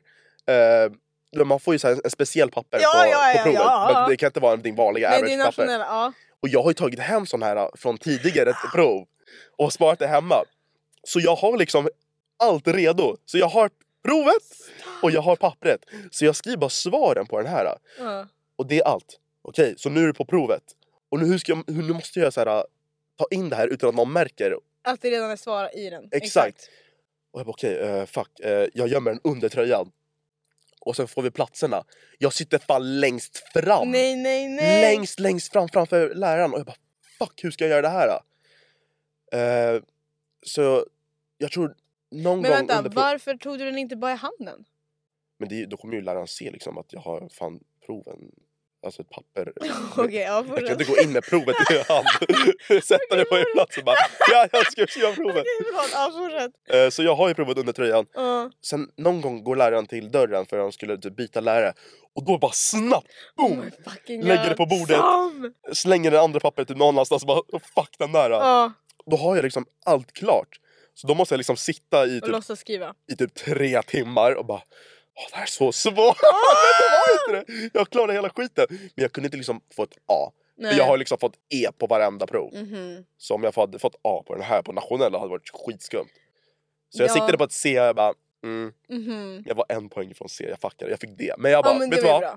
Speaker 2: Eh, eller man får ju så här en speciell papper
Speaker 1: Ja,
Speaker 2: på,
Speaker 1: ja,
Speaker 2: på
Speaker 1: ja,
Speaker 2: provet.
Speaker 1: ja, ja.
Speaker 2: Men det kan inte vara din vanliga
Speaker 1: Nej, det är
Speaker 2: average-papper.
Speaker 1: nationella. Ja.
Speaker 2: Och jag har ju tagit hem sån här äh, från tidigare prov och sparat det hemma. Så jag har liksom allt redo. Så jag har provet och jag har pappret. Så jag skriver bara svaren på den här.
Speaker 1: Ja.
Speaker 2: Och det är allt. Okej, så nu är det på provet. Och nu, hur ska jag, hur, nu måste jag så här, äh, ta in det här utan att någon märker.
Speaker 1: Att det redan är svar i den.
Speaker 2: Exakt. Och jag bara okej, eh, fuck. eh, jag gömmer den under tröjan. Och sen får vi platserna. Jag sitter fan längst fram.
Speaker 1: Nej, nej, nej.
Speaker 2: längst, längst fram framför läraren. Och jag bara, fuck hur ska jag göra det här? då?" Eh, så jag tror någon
Speaker 1: Men
Speaker 2: gång
Speaker 1: vänta,
Speaker 2: under... pro-
Speaker 1: varför tog du den inte bara i handen?
Speaker 2: Men det, är ju- då kommer ju läraren se liksom att jag har fan proven. alltså ett papper.
Speaker 1: Okej, [LAUGHS] ja,
Speaker 2: Jag kan
Speaker 1: fortsätt.
Speaker 2: inte gå in med provet i hand. [LAUGHS] Sätta det på en plats och bara ja, jag ska
Speaker 1: [LAUGHS]
Speaker 2: skriva provet.
Speaker 1: Okej, [LAUGHS] förlåt. Ja, fortsätt.
Speaker 2: Eh, Så jag har ju provet under tröjan.
Speaker 1: Ja.
Speaker 2: Sen någon gång går läraren till dörren för han skulle typ byta lärare. Och då bara snabbt,
Speaker 1: Oh my
Speaker 2: boom!
Speaker 1: fucking
Speaker 2: Lägger
Speaker 1: god.
Speaker 2: det på bordet.
Speaker 1: Sam!
Speaker 2: Slänger det andra pappret typ någon annanstans och bara fuck den där.
Speaker 1: Ja,
Speaker 2: Då har jag liksom allt klart. Så då måste jag liksom sitta i
Speaker 1: och
Speaker 2: typ,
Speaker 1: låtsas skriva.
Speaker 2: i typ tre timmar och bara Åh, det här är så svårt!
Speaker 1: Ah!
Speaker 2: [LAUGHS] Men det var inte det! Jag klarade hela skiten! Men jag kunde inte liksom få ett A. För
Speaker 1: Nej.
Speaker 2: jag har liksom fått E på varenda prov.
Speaker 1: Mhm.
Speaker 2: Så om jag hade fått A på den här på nationella hade det varit skitskumt. Så jag
Speaker 1: Ja.
Speaker 2: siktade på ett C och jag bara, mm,
Speaker 1: Mhm.
Speaker 2: jag var en poäng från C, jag fuckade, jag fick D. Men jag
Speaker 1: Ja,
Speaker 2: bara,
Speaker 1: men det
Speaker 2: vet du
Speaker 1: var
Speaker 2: vad?
Speaker 1: ju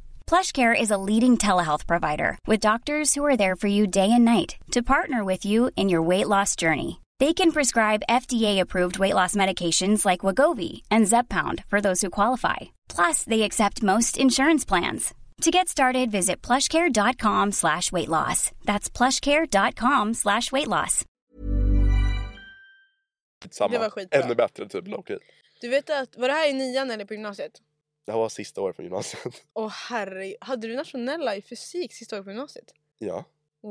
Speaker 5: PlushCare is a leading telehealth provider with doctors who are there for you day and night to partner with you in your weight loss journey. They can prescribe FDA-approved weight loss medications like Wagovi and Zepbound for those who qualify. Plus, they accept most insurance plans. To get started, visit plushcare.com slash weight loss. That's plushcare.com slash weight loss.
Speaker 2: Skitsamma.
Speaker 1: Det var skitbra.
Speaker 2: Ännu bättre typ, lowkey.
Speaker 1: Du vet att, var det här i nian eller på gymnasiet?
Speaker 2: Det här var sista året på gymnasiet. [LAUGHS]
Speaker 1: Åh herregud, hade du nationella i fysik sista året på gymnasiet?
Speaker 2: ja.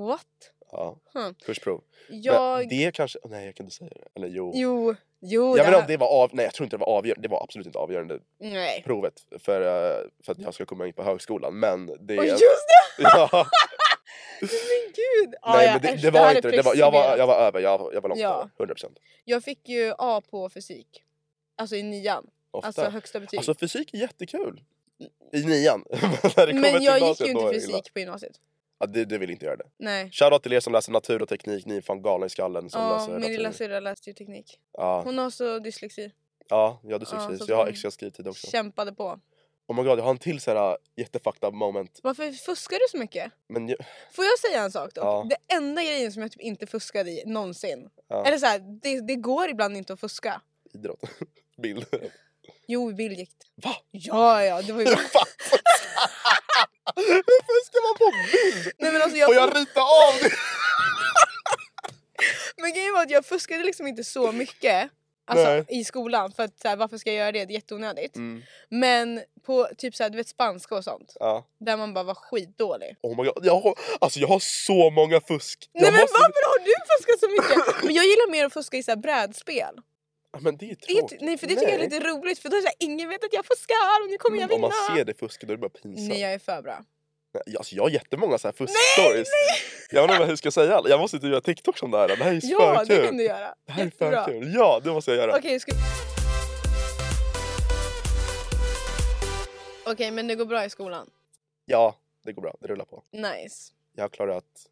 Speaker 1: What?
Speaker 2: Ja.
Speaker 1: Hmm.
Speaker 2: Kursprov.
Speaker 1: Jag...
Speaker 2: Men det kanske, nej jag kan inte säga det. Eller jo.
Speaker 1: Jo, jo.
Speaker 2: jag
Speaker 1: det
Speaker 2: vet inte
Speaker 1: här...
Speaker 2: om det var av, nej jag tror inte det var avgörande, det var absolut inte avgörande
Speaker 1: Nej.
Speaker 2: provet för, eh, för att jag ska komma in på högskolan men det...
Speaker 1: Och just det!
Speaker 2: [LAUGHS] ja,
Speaker 1: Men gud! Ah,
Speaker 2: nej
Speaker 1: ja,
Speaker 2: men det,
Speaker 1: äsch, här
Speaker 2: det var
Speaker 1: är
Speaker 2: inte det, det var, jag, var,
Speaker 1: preskriberat.
Speaker 2: jag var över, jag, jag var långt
Speaker 1: Ja.
Speaker 2: över, 100%.
Speaker 1: Jag fick ju A på fysik. Alltså i nian.
Speaker 2: Ofta.
Speaker 1: Alltså högsta betyg.
Speaker 2: Alltså fysik är jättekul. I nian. [LAUGHS] Men när det kommer
Speaker 1: men
Speaker 2: till
Speaker 1: jag gick
Speaker 2: gymnasiet,
Speaker 1: ju
Speaker 2: då
Speaker 1: inte
Speaker 2: är det illa.
Speaker 1: fysik på gymnasiet.
Speaker 2: Ja, du, du vill inte göra det.
Speaker 1: Nej.
Speaker 2: Shoutout till er som läser natur och teknik, ni är fan galna i skallen som
Speaker 1: Ja,
Speaker 2: läser
Speaker 1: min lilla
Speaker 2: natur.
Speaker 1: syrra läste ju teknik.
Speaker 2: Ja,
Speaker 1: Hon har så dyslexi.
Speaker 2: ja, jag hade
Speaker 1: Ja,
Speaker 2: dyslexi
Speaker 1: så
Speaker 2: så jag har
Speaker 1: hon-
Speaker 2: extra skrivtid också.
Speaker 1: Kämpade på.
Speaker 2: Oh my god, jag har en till så här jättefakta moment.
Speaker 1: Varför fuskar du så mycket?
Speaker 2: Men jag,
Speaker 1: Får jag säga en sak då?
Speaker 2: Ja.
Speaker 1: Det enda grejen som jag typ inte fuskade i någonsin.
Speaker 2: Ja.
Speaker 1: Eller så här, det, det går ibland inte att fuska.
Speaker 2: idrott. [LAUGHS] Bild.
Speaker 1: Jo, i bild gick det.
Speaker 2: Va?
Speaker 1: Ja, ja, det var ju...
Speaker 2: [LAUGHS] Fan. Hur ska man på bild?
Speaker 1: Nej, men alltså jag-
Speaker 2: Får jag rita av det? [LAUGHS]
Speaker 1: Men grejen var att jag fuskade liksom inte så mycket alltså,
Speaker 2: Nej. Mm.
Speaker 1: i skolan. För att så här, varför ska jag göra det? Det är jätteonödigt. Men på typ så här, du vet spanska och sånt.
Speaker 2: Ja.
Speaker 1: Där man bara var skitdålig.
Speaker 2: Oh my god, jag har, alltså jag har så många fusk. Jag
Speaker 1: Nej men
Speaker 2: måste-
Speaker 1: varför har du fuskat så mycket? Men jag gillar mer att fuska i så här brädspel.
Speaker 2: Ja, Men det är
Speaker 1: Det är inte-
Speaker 2: tråkigt.
Speaker 1: nej för det tycker jag är lite roligt för då är det så här, ingen vet att jag fuskar och nu kommer jag
Speaker 2: Mm, Om
Speaker 1: vinna.
Speaker 2: man ser det liksom. fusket då är det bara pinsamt.
Speaker 1: nej jag är för bra.
Speaker 2: Nej, Alltså, jag har jättemmånga så här fusk-stories. Jag vet inte hur jag ska säga. Jag måste typ göra TikToks om det här. Det här är
Speaker 1: Ja
Speaker 2: för
Speaker 1: det
Speaker 2: kul.
Speaker 1: kan du göra.
Speaker 2: Det här är
Speaker 1: Jättebra.
Speaker 2: för kul. Ja, det måste jag göra.
Speaker 1: Okej ska... Okej men det går bra i skolan.
Speaker 2: Ja, det går bra. Det rullar på.
Speaker 1: Nice.
Speaker 2: Jag har klarat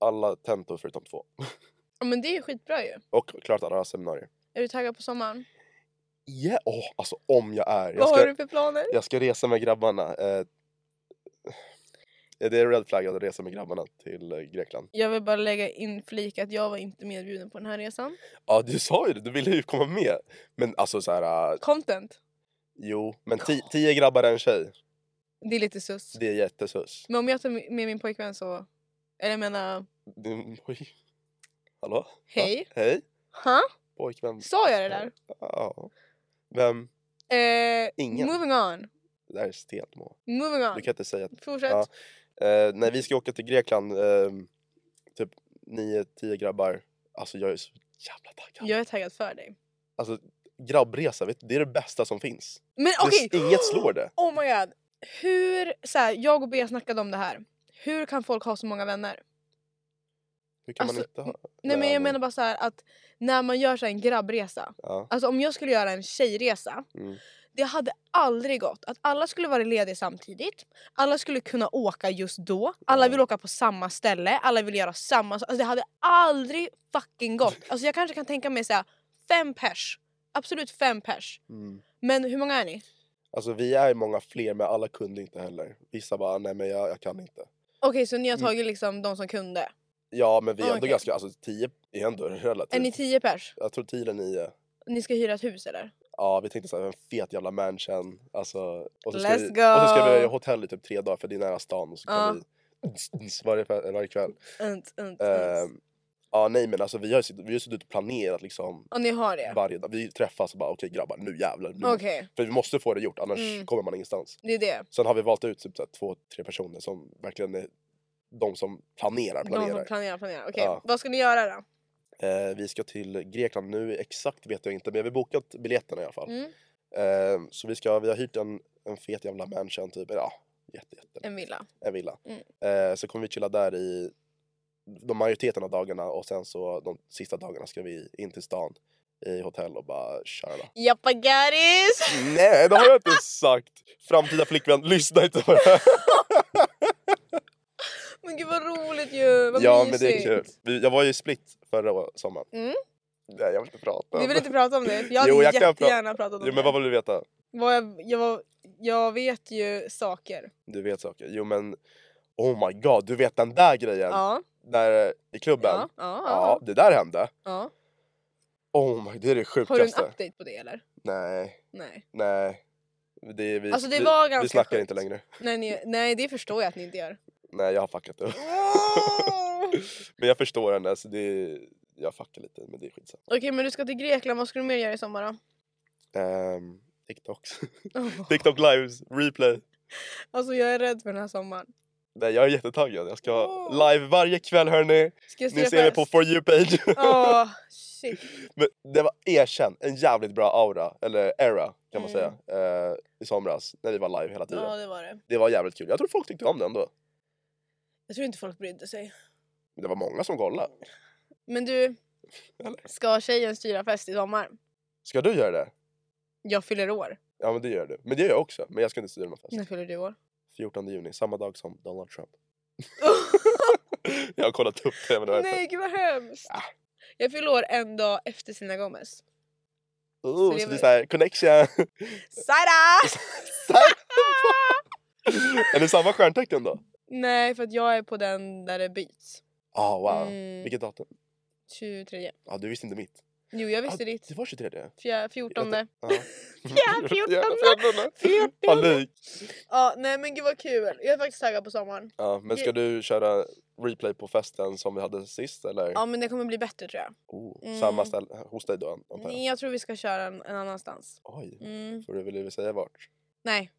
Speaker 2: alla tentor förutom två.
Speaker 1: Ja, men det är ju skitbra ju.
Speaker 2: Och klarat alla seminarier.
Speaker 1: Är du taggad på sommaren?
Speaker 2: Ja, åh, alltså om jag är. Jag
Speaker 1: Vad har
Speaker 2: ska,
Speaker 1: du för planer?
Speaker 2: jag ska resa med grabbarna. Eh, det är red flag att resa med grabbarna till eh, Grekland.
Speaker 1: Jag vill bara lägga in flik att jag var inte medbjuden på den här resan.
Speaker 2: Ja, du sa ju det. Du ville ju komma med. Men alltså så här... eh,
Speaker 1: Content.
Speaker 2: Jo, men ti- tio grabbar en tjej.
Speaker 1: Det är lite sus.
Speaker 2: Det är jättesus.
Speaker 1: Men om jag tar med min pojkvän så... Eller jag menar...
Speaker 2: Du- [LAUGHS] Oj. Hallå?
Speaker 1: Hej.
Speaker 2: Ja, hej.
Speaker 1: Ha?
Speaker 2: Pojkvän.
Speaker 1: Sa jag det där?
Speaker 2: Ja. Vem?
Speaker 1: Eh,
Speaker 2: Ingen.
Speaker 1: Moving on.
Speaker 2: Det där är Stenmo.
Speaker 1: Moving on.
Speaker 2: Du kan inte säga att...
Speaker 1: Fortsätt.
Speaker 2: Ja. Eh, nej, vi ska åka till Grekland. Eh, typ nio, tio grabbar. Alltså jag är så jävla taggad.
Speaker 1: Jag är taggad för dig.
Speaker 2: Alltså grabbresa, vet du, det är det bästa som finns.
Speaker 1: Men okej!
Speaker 2: Det, inget slår det.
Speaker 1: [GASPS] Oh my god. Hur... Så här, jag och Bea snackade om det här. Hur kan folk ha så många vänner?
Speaker 2: Hur kan man
Speaker 1: Alltså,
Speaker 2: inte ha?
Speaker 1: Nej men jag menar bara så här att när man gör så här en grabbresa.
Speaker 2: Ja.
Speaker 1: Alltså om jag skulle göra en tjejresa.
Speaker 2: Mm.
Speaker 1: Det hade aldrig gått att alla skulle vara lediga samtidigt. Alla skulle kunna åka just då. Alla
Speaker 2: Ja.
Speaker 1: vill åka på samma ställe. Alla vill göra samma sak. Alltså det hade aldrig fucking gått. Alltså jag kanske kan tänka mig säga fem pers. Absolut fem pers.
Speaker 2: Mm.
Speaker 1: Men hur många är ni?
Speaker 2: Alltså vi är många fler men alla kunde inte heller. Vissa bara, nej men jag, jag kan inte.
Speaker 1: Okej, så ni har tagit liksom de som kunde?
Speaker 2: Ja men vi är
Speaker 1: Ah,
Speaker 2: ändå
Speaker 1: okej.
Speaker 2: ganska, alltså 10 är ändå relativt.
Speaker 1: Är ni tio pers?
Speaker 2: Jag tror 10 eller 9.
Speaker 1: Ni ska hyra ett hus eller?
Speaker 2: Ja vi tänkte såhär, en fet jävla mansion. Alltså, och, så ska
Speaker 1: Let's
Speaker 2: vi, och så ska
Speaker 1: go!
Speaker 2: vi
Speaker 1: Ah.
Speaker 2: ha hotell i typ tre dagar för det är nära stan och så kan
Speaker 1: Ja.
Speaker 2: vi varje, fe- varje kväll.
Speaker 1: Unt, unt, unt.
Speaker 2: Ehm, ja nej men alltså vi har ju sitt- vi har ju suttit och planerat liksom
Speaker 1: Och ni har det?
Speaker 2: varje dag. Vi träffas och bara okej grabbar nu jävlar. Nu.
Speaker 1: Okej,
Speaker 2: För vi måste få det gjort annars
Speaker 1: Mm.
Speaker 2: kommer man ingenstans.
Speaker 1: det är det.
Speaker 2: Sen har vi valt ut typ så här, två, tre personer som verkligen är de som planerar,
Speaker 1: De
Speaker 2: planerar.
Speaker 1: som planerar, planerar. Okej,
Speaker 2: Ja.
Speaker 1: vad ska ni göra då?
Speaker 2: Eh, vi ska till Grekland nu, exakt vet jag inte men vi har bokat biljetterna i alla fall.
Speaker 1: Mm.
Speaker 2: Eh, så vi, ska, vi har hyrt en, en fet jävla mansion typ, ja jätte, jätte,
Speaker 1: En villa.
Speaker 2: en villa.
Speaker 1: Mm.
Speaker 2: Eh, så kommer vi chilla där i de majoriteten av dagarna och sen så de sista dagarna ska vi in till stan i hotell och bara köra.
Speaker 1: Jappa Garis!
Speaker 2: Nej det har jag inte sagt! Framtida flickvän, lyssna inte på det här.
Speaker 1: [LAUGHS] Men gud vad roligt ju! Vad
Speaker 2: Ja men
Speaker 1: mysigt.
Speaker 2: det är kul. Vi- Jag var ju i split förra å- sommaren.
Speaker 1: Mm.
Speaker 2: Nej jag vill inte prata om
Speaker 1: Du vill
Speaker 2: det.
Speaker 1: inte prata om det? För jag hade
Speaker 2: Jo, jag kan pra-
Speaker 1: jättegärna pratat om
Speaker 2: Jo men vad
Speaker 1: det.
Speaker 2: vill du veta?
Speaker 1: Vad jag, jag, var- jag vet ju saker.
Speaker 2: Du vet saker. Jo men oh my god, du vet den där grejen
Speaker 1: Ja,
Speaker 2: där i klubben?
Speaker 1: ja, ja,
Speaker 2: Ja,
Speaker 1: ja,
Speaker 2: det där hände.
Speaker 1: ja.
Speaker 2: Oh my, det är det
Speaker 1: Har du en
Speaker 2: sjukaste.
Speaker 1: update på det eller?
Speaker 2: nej,
Speaker 1: Nej.
Speaker 2: nej. Det är vi,
Speaker 1: Alltså, det
Speaker 2: vi,
Speaker 1: var
Speaker 2: vi
Speaker 1: ganska
Speaker 2: snackar
Speaker 1: sjukt.
Speaker 2: inte längre.
Speaker 1: Nej, ni, nej, det förstår jag att ni inte gör.
Speaker 2: Nej jag har
Speaker 1: [LAUGHS]
Speaker 2: fuckat upp. men jag förstår henne så det är, jag fuckar lite men det är skitsamma.
Speaker 1: Okej, men du ska till Grekland. Vad ska du mer göra i sommar då?
Speaker 2: Um, TikToks.
Speaker 1: Åh,
Speaker 2: [LAUGHS] TikTok lives, replay.
Speaker 1: Alltså jag är rädd för den här sommaren.
Speaker 2: Nej jag är jättetaggad. Jag ska
Speaker 1: Åh.
Speaker 2: live varje kväll hörni.
Speaker 1: Ska Oh. jag
Speaker 2: Ni
Speaker 1: se
Speaker 2: ser mig
Speaker 1: fest?
Speaker 2: på For You-page.
Speaker 1: Åh, shit.
Speaker 2: [LAUGHS] Men det var erkänt en jävligt bra aura, eller era kan man
Speaker 1: Mm.
Speaker 2: säga, eh, i somras när vi var live hela tiden.
Speaker 1: Ja, det var det.
Speaker 2: Det var jävligt kul. Jag tror folk tyckte om det ändå.
Speaker 1: Jag tror inte folk brydde sig.
Speaker 2: Men Det var många som kollade.
Speaker 1: Men du,
Speaker 2: Eller?
Speaker 1: ska tjejen styra fest i sommar?
Speaker 2: Ska du göra det?
Speaker 1: Jag fyller år.
Speaker 2: Ja men det gör du. Men det gör jag också. Men jag ska inte styra någon fest.
Speaker 1: När fyller du år?
Speaker 2: 14 juni, samma dag som
Speaker 1: [LAUGHS]
Speaker 2: Donald Trump. jag har kollat upp det. Men det var
Speaker 1: Nej, gud vad hemskt.
Speaker 2: Ah.
Speaker 1: Jag fyller år en dag efter Selena Gomez. det
Speaker 2: oh, så det är
Speaker 1: var-
Speaker 2: såhär, connection!
Speaker 1: Sara!
Speaker 2: [LAUGHS] är det samma stjärntecken då?
Speaker 1: Nej, för att jag är på den där det byts.
Speaker 2: Ah wow.
Speaker 1: Mm.
Speaker 2: Vilket datum?
Speaker 1: 23.
Speaker 2: Ja ah, du visste inte mitt.
Speaker 1: Jo, jag
Speaker 2: Ah,
Speaker 1: visste ditt.
Speaker 2: det var 23.
Speaker 1: Fjär, 14. Ja,
Speaker 2: Ja.
Speaker 1: [LAUGHS] Ja, 14.
Speaker 2: Vad lik.
Speaker 1: nej men gud vad kul. Jag är faktiskt taggad på sommaren.
Speaker 2: Ja, men ska du köra replay på festen som vi hade sist eller?
Speaker 1: Ja, men det kommer bli bättre tror jag.
Speaker 2: Oh,
Speaker 1: Mm.
Speaker 2: Samma ställe hos dig då antar jag?
Speaker 1: Nej, jag tror vi ska köra en, en annanstans.
Speaker 2: Oj,
Speaker 1: Mm,
Speaker 2: får du väl säga vart?
Speaker 1: nej.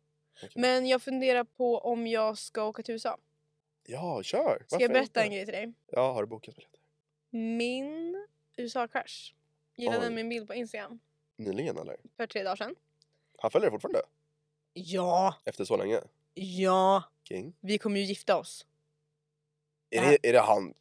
Speaker 2: Okej.
Speaker 1: Men jag funderar på om jag ska åka till USA.
Speaker 2: Ja, kör!
Speaker 1: Ska
Speaker 2: Varför
Speaker 1: jag berätta
Speaker 2: inte?
Speaker 1: en grej till dig?
Speaker 2: Ja, har du bokat biljetter?
Speaker 1: Min USA-crush gillade
Speaker 2: Oj.
Speaker 1: min bild på Instagram
Speaker 2: Nyligen eller?
Speaker 1: för tre dagar sedan.
Speaker 2: Han följer dig fortfarande?
Speaker 1: Ja,
Speaker 2: Efter så länge?
Speaker 1: ja.
Speaker 2: King?
Speaker 1: Vi kommer ju gifta oss.
Speaker 2: Är,
Speaker 1: Ja.
Speaker 2: det, är det han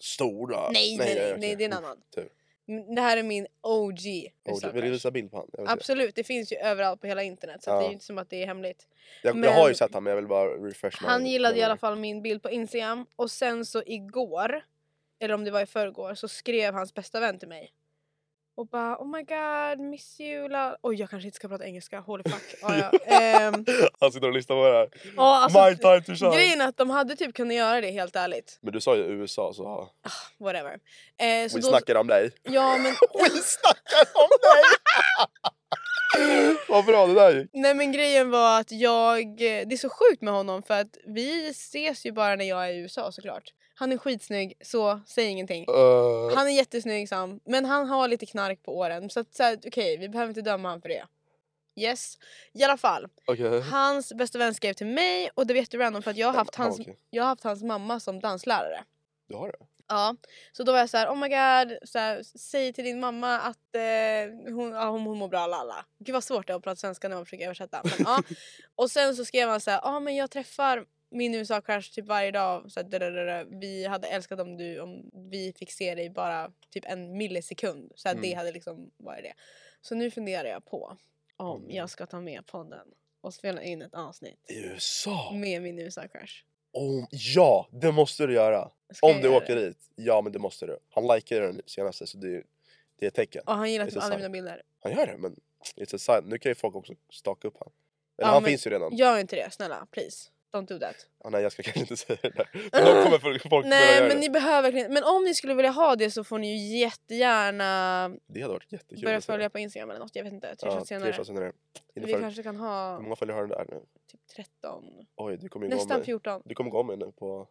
Speaker 2: stora?
Speaker 1: Nej, nej, nej, nej,
Speaker 2: okej.
Speaker 1: det är en annan.
Speaker 2: Tur.
Speaker 1: M- Det här är min OG
Speaker 2: Oh, du- vill du
Speaker 1: USA-crush.
Speaker 2: visa bild på han? Jag, vill se.
Speaker 1: Absolut, det finns ju överallt på hela internet så att det är
Speaker 2: Ja.
Speaker 1: ju inte som att det är hemligt.
Speaker 2: jag, jag
Speaker 1: men-
Speaker 2: har ju sett han men jag vill bara refresh my
Speaker 1: Han gillade i alla
Speaker 2: memory.
Speaker 1: fall min bild på Instagram och sen så igår, eller om det var i förrgår, så skrev hans bästa vän till mig. Och bara oh my god, miss you, la... Oj jag kanske inte ska prata engelska, holy fuck. Ja,
Speaker 2: [LAUGHS]
Speaker 1: ja. Ehm,
Speaker 2: [LAUGHS] Han sitter och lyssnar på det här.
Speaker 1: ja,
Speaker 2: My
Speaker 1: alltså,
Speaker 2: time to shine!
Speaker 1: grejen är att de hade typ kunnat göra det helt ärligt.
Speaker 2: Men du sa ju USA så...
Speaker 1: Whatever. Eh, så
Speaker 2: Vi
Speaker 1: Alltså, då-
Speaker 2: snackar
Speaker 1: [LAUGHS]
Speaker 2: om dig.
Speaker 1: Ja men
Speaker 2: Vi snackar om dig! [LAUGHS] Vad bra det där gick.
Speaker 1: Nej men grejen var att jag, eh, det är så sjukt med honom för att vi ses ju bara när jag är i USA såklart. Han är skitsnygg så säg ingenting.
Speaker 2: Eh,
Speaker 1: Han är jättesnygg Sam, men han har lite knark på åren så, att, så här, okej vi behöver inte döma han för det. Yes. I alla fall,
Speaker 2: Okej.
Speaker 1: hans bästa vän skrev till mig och det var jätterandom för att jag har haft
Speaker 2: Ja,
Speaker 1: hans,
Speaker 2: okej.
Speaker 1: jag har haft hans mamma som danslärare.
Speaker 2: Du har det?
Speaker 1: Ja, så då var jag så här, oh my god, så här, säg till din mamma att eh, hon, ja, hon, hon mår bra, lalla. Gud vad svårt det är att prata svenska när man försöker översätta. Men,
Speaker 2: [LAUGHS]
Speaker 1: ja. Och sen så skrev han så här, ja men jag träffar min USA-crush typ varje dag. Så här, dadadada. vi hade älskat om du, om vi fick se dig bara typ en millisekund. Så här, det
Speaker 2: Mm.
Speaker 1: hade liksom varit det. Så nu funderar jag på om
Speaker 2: Mm.
Speaker 1: jag ska ta med podden och spela in ett avsnitt
Speaker 2: I USA?
Speaker 1: med min USA-crush.
Speaker 2: Oh, ja, det måste du göra.
Speaker 1: Ska
Speaker 2: Om
Speaker 1: jag
Speaker 2: du
Speaker 1: göra
Speaker 2: åker
Speaker 1: det?
Speaker 2: dit. Ja, men det måste du. Han likar den senaste så det är, det är ett tecken.
Speaker 1: Och han gillar
Speaker 2: Det är
Speaker 1: typ
Speaker 2: så
Speaker 1: alla
Speaker 2: sant.
Speaker 1: mina bilder.
Speaker 2: Han gör det, men it's a sign. Nu kan ju folk också staka upp han. Eller
Speaker 1: Ja,
Speaker 2: han
Speaker 1: men-
Speaker 2: finns ju redan.
Speaker 1: Gör inte det, snälla. Please. Don't do that.
Speaker 2: Ah, nej jag ska kanske inte [LAUGHS] säga det där. Men då kommer folk folk börja
Speaker 1: Nej
Speaker 2: göra
Speaker 1: men
Speaker 2: det.
Speaker 1: ni behöver verkligen Men om ni skulle vilja ha det så får ni ju jättegärna
Speaker 2: Det hade varit jättekul.
Speaker 1: börja
Speaker 2: att se.
Speaker 1: följa på Instagram eller något. Jag vet inte. Tre
Speaker 2: Ja,
Speaker 1: shots senare.
Speaker 2: shots senare. Hinner
Speaker 1: Vi
Speaker 2: följa-
Speaker 1: kanske kan ha
Speaker 2: Hur många följare har den där nu?
Speaker 1: typ 13.
Speaker 2: Oj du kommer ju gå om
Speaker 1: Nästan
Speaker 2: mig.
Speaker 1: 14.
Speaker 2: Du kommer gå om mig nu på...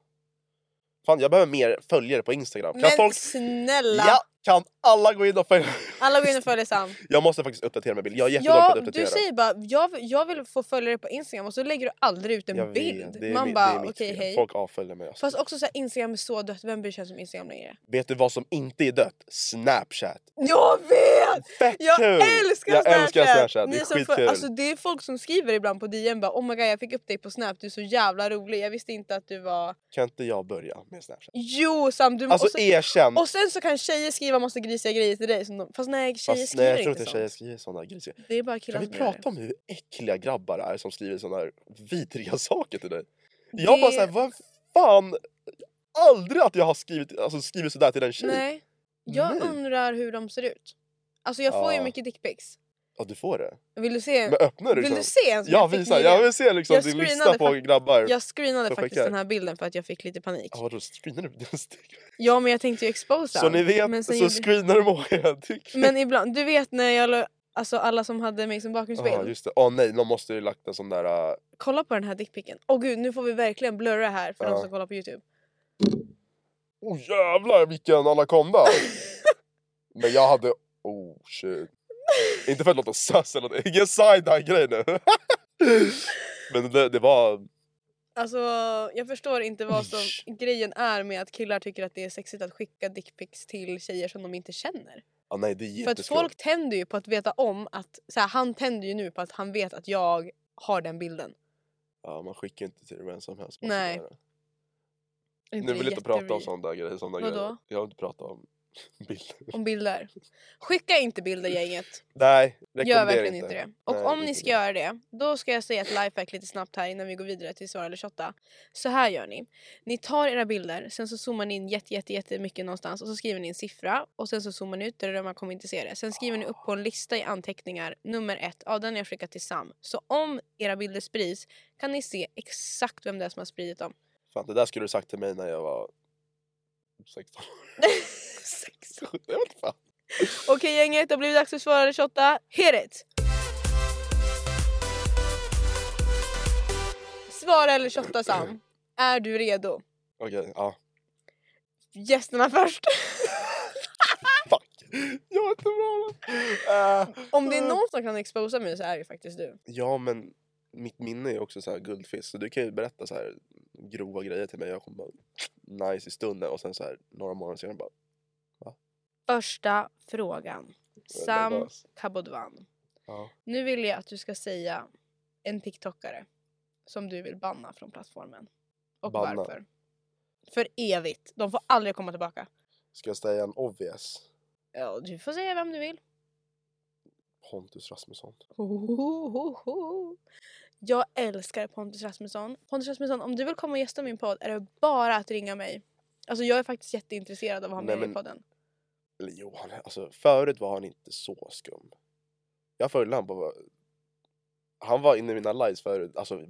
Speaker 2: Fan jag behöver mer följare på Instagram. Kan
Speaker 1: Men
Speaker 2: folk...
Speaker 1: snälla!
Speaker 2: Ja! Kan alla gå in och följa?
Speaker 1: Alla går in och följer Sam.
Speaker 2: Jag måste faktiskt uppdatera min bild. Jag är jättedålig på
Speaker 1: Ja,
Speaker 2: att uppdatera.
Speaker 1: du säger bara jag, vill- jag vill få följare på Instagram och så lägger du aldrig ut en
Speaker 2: Jag vet,
Speaker 1: bild.
Speaker 2: det är
Speaker 1: Man
Speaker 2: mi- det är
Speaker 1: bara
Speaker 2: mitt
Speaker 1: okej
Speaker 2: fel.
Speaker 1: hej.
Speaker 2: Folk avföljer mig. Alltså.
Speaker 1: Fast också så här, Instagram är så dött, vem bryr sig ens om Instagram längre?
Speaker 2: Vet du vad som inte är dött? Snapchat.
Speaker 1: Jag vet!
Speaker 2: Fett
Speaker 1: Jag
Speaker 2: kul!
Speaker 1: älskar
Speaker 2: jag
Speaker 1: Snapchat!
Speaker 2: Älskar Snapchat. Det
Speaker 1: Ni
Speaker 2: är
Speaker 1: som
Speaker 2: skitkul.
Speaker 1: för, alltså, det är folk som skriver ibland på DM bara oh my god jag fick upp dig på Snap, du är så jävla rolig, jag visste inte att du var...
Speaker 2: Kan inte jag börja med Snapchat?
Speaker 1: Jo Sam! Du,
Speaker 2: Alltså
Speaker 1: och, så,
Speaker 2: erkänn.
Speaker 1: och sen så kan tjejer skriva massa grisiga grejer till dig som de, fast nej tjejer
Speaker 2: Fast, nej,
Speaker 1: skriver
Speaker 2: jag tror
Speaker 1: inte
Speaker 2: inte
Speaker 1: sånt.
Speaker 2: tjejer skriver sådana grisiga.
Speaker 1: Det är bara killar
Speaker 2: Kan vi
Speaker 1: som gör det.
Speaker 2: prata om hur äckliga grabbar är som skriver sådana här vidriga [LAUGHS] saker till dig? Jag bara såhär, vad fan! Aldrig att jag har skrivit, alltså, skrivit sådär till en tjej.
Speaker 1: Nej. Jag
Speaker 2: Nej.
Speaker 1: undrar hur de ser ut. Alltså jag får ju
Speaker 2: Ja.
Speaker 1: mycket dickpics.
Speaker 2: Ja du får det.
Speaker 1: Vill du se?
Speaker 2: Men öppnar du
Speaker 1: Vill
Speaker 2: liksom?
Speaker 1: du se en som
Speaker 2: Ja
Speaker 1: jag fick
Speaker 2: visa,
Speaker 1: nyligen?
Speaker 2: jag vill se liksom
Speaker 1: Jag
Speaker 2: din lista
Speaker 1: screenade
Speaker 2: på
Speaker 1: fak-
Speaker 2: grabbar.
Speaker 1: Jag screenade
Speaker 2: Som
Speaker 1: faktiskt
Speaker 2: skickar.
Speaker 1: den här bilden för att jag fick lite panik.
Speaker 2: Ja, vadå screenar du [LAUGHS] den stick?
Speaker 1: Ja men jag tänkte ju exposa
Speaker 2: Så ni
Speaker 1: han.
Speaker 2: vet
Speaker 1: men,
Speaker 2: så
Speaker 1: sen gjorde- Mm,
Speaker 2: screenar du Moa.
Speaker 1: men ibland, du vet när jag la- alltså alla som hade mig som bakgrundsbild.
Speaker 2: Ja just det, åh nej någon måste ju lagt en sån där... äh,
Speaker 1: Kolla på den här dickpicken. Åh gud nu får vi verkligen blurra här för de
Speaker 2: Ja.
Speaker 1: som kollar på youtube.
Speaker 2: Oh jävlar
Speaker 1: [LAUGHS]
Speaker 2: vilken anakonda! men jag hade... Oh shit. Inte för att låta sass eller nåt, ingen side-eye grej nu. [LAUGHS] men det, det var...
Speaker 1: Alltså jag förstår inte vad som
Speaker 2: Ish.
Speaker 1: grejen är med att killar tycker att det är sexigt att skicka dickpics till tjejer som de inte känner.
Speaker 2: Ja nej det är
Speaker 1: För att
Speaker 2: jätteskumt.
Speaker 1: folk tänder ju på att veta om att, så här, han tänder ju nu på att han vet att jag har den bilden.
Speaker 2: Ja, man skickar inte till vem som helst.
Speaker 1: Nej.
Speaker 2: Sådär.
Speaker 1: Inte
Speaker 2: Nu vill jag inte prata om
Speaker 1: jätteweird.
Speaker 2: sådana där grejer. Sådana
Speaker 1: Vadå?
Speaker 2: grejer. Jag vill inte prata om [LAUGHS] bilder.
Speaker 1: Om bilder. Skicka inte bilder gänget.
Speaker 2: Nej,
Speaker 1: Gör
Speaker 2: rekommenderar
Speaker 1: verkligen inte det. Och
Speaker 2: Nej,
Speaker 1: om ni
Speaker 2: inte
Speaker 1: ska
Speaker 2: det.
Speaker 1: göra det, då ska jag säga ett lifehack lite snabbt här innan vi går vidare till svara eller shotta. Så här gör ni. Ni tar era bilder, sen så zoomar ni in jätte, jätte, jättemycket någonstans och så skriver ni en siffra och sen så zoomar ni ut där man kommer inte se det. Sen skriver ni upp på en lista i anteckningar, nummer ett, ja den har jag skickat till Sam. Så om era bilder sprids kan ni se exakt vem det är som har spridit dem.
Speaker 2: Fan, det där skulle du sagt till mig när jag var 16
Speaker 1: Sexton.
Speaker 2: år. [LAUGHS] Jag vet inte fan.
Speaker 1: Okej gänget, då blir det dags för svara eller shotta. Hit it! Svara eller shotta Sam. Är du redo?
Speaker 2: Okej, ja.
Speaker 1: Gästerna först.
Speaker 2: Fuck. Jag är inte bra uh,
Speaker 1: Om det är någon som kan exposa mig så är det faktiskt du.
Speaker 2: Ja, men mitt minne är också så här guldfisk. Så du kan ju berätta så här grova grejer till mig. Jag kommer bara nice i stunden och sen så här några månader senare bara...
Speaker 1: Första frågan.
Speaker 2: jag är
Speaker 1: Sam
Speaker 2: nervös.
Speaker 1: Kabodvan.
Speaker 2: Ja.
Speaker 1: Nu vill jag att du ska säga en TikTokare som du vill banna från plattformen. Och
Speaker 2: Banna?
Speaker 1: varför. För evigt. De får aldrig komma tillbaka.
Speaker 2: Ska jag säga en obvious?
Speaker 1: Ja, du får säga vem du vill.
Speaker 2: Pontus Rasmusson.
Speaker 1: Hohohoho. [LAUGHS] Jag älskar Pontus Rasmusson. Pontus Rasmusson, om du vill komma och gästa min podd är det bara att ringa mig. Alltså jag är faktiskt jätteintresserad av att ha
Speaker 2: Nej,
Speaker 1: med i
Speaker 2: men-
Speaker 1: podden.
Speaker 2: Eller jo, han, alltså, förut var han inte så skum. Jag följde han på... Han var inne i mina lives förut, alltså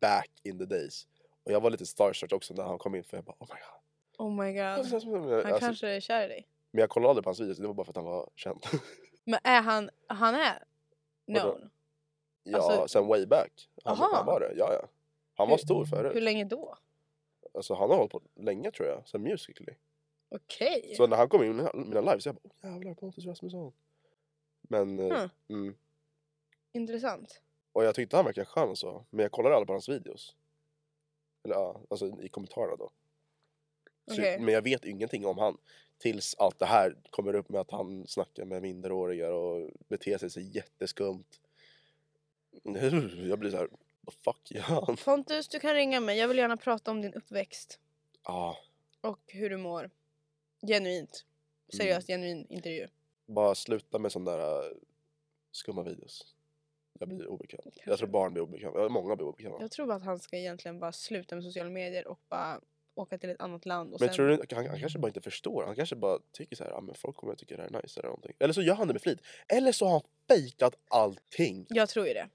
Speaker 2: back in the days. Och jag var lite starstruck också när han kom in för jag bara oh my god.
Speaker 1: Oh my
Speaker 2: Han
Speaker 1: god.
Speaker 2: känns som en-
Speaker 1: Han
Speaker 2: Alltså,
Speaker 1: kanske är kär i dig.
Speaker 2: men jag kollade aldrig på hans videos, det var bara för att han var känd. [LAUGHS]
Speaker 1: Men är han... Han är
Speaker 2: Vadå?
Speaker 1: known.
Speaker 2: ja,
Speaker 1: Alltså-
Speaker 2: sen way back. Han,
Speaker 1: Aha.
Speaker 2: han var det, ja ja. Han var
Speaker 1: Hur-
Speaker 2: stor
Speaker 1: Hur
Speaker 2: förut.
Speaker 1: länge då?
Speaker 2: Alltså, han har hållit på länge tror jag, sen Musically.
Speaker 1: Okej.
Speaker 2: Så när han kom in i mina, mina lives, jag bara oh, jävlar Pontus Rasmusson. Men, eh,
Speaker 1: Hmm.
Speaker 2: mm.
Speaker 1: Intressant.
Speaker 2: Och jag tyckte han verkade skön och så, men jag kollade aldrig på hans videos. Eller ja, alltså i kommentarerna då. Så,
Speaker 1: Okej.
Speaker 2: Men jag vet ingenting om han. Tills allt det här kommer upp med att han snackar med minderåriga och beter sig så jätteskumt. [LAUGHS] Jag blir så här, vad fuck gör han?
Speaker 1: Pontus, du kan ringa mig. Jag vill gärna prata om din uppväxt.
Speaker 2: Ja,
Speaker 1: Och hur du mår. Genuint. Seriöst,
Speaker 2: Mm.
Speaker 1: genuin intervju.
Speaker 2: bara sluta med sådana där äh, skumma videos. Jag blir obekväm. Jag tror barn blir obekväma. Ja, Många blir obekväma.
Speaker 1: Jag tror bara att han ska egentligen bara sluta med sociala medier och bara åka till ett annat land. Och
Speaker 2: Men
Speaker 1: sen...
Speaker 2: tror du, han, han kanske bara inte förstår. Han kanske bara tycker så här, ah, men folk kommer att tycka det här är nice eller någonting. Eller så gör han det med flit. Eller så har han fejkat allting.
Speaker 1: Jag tror ju det.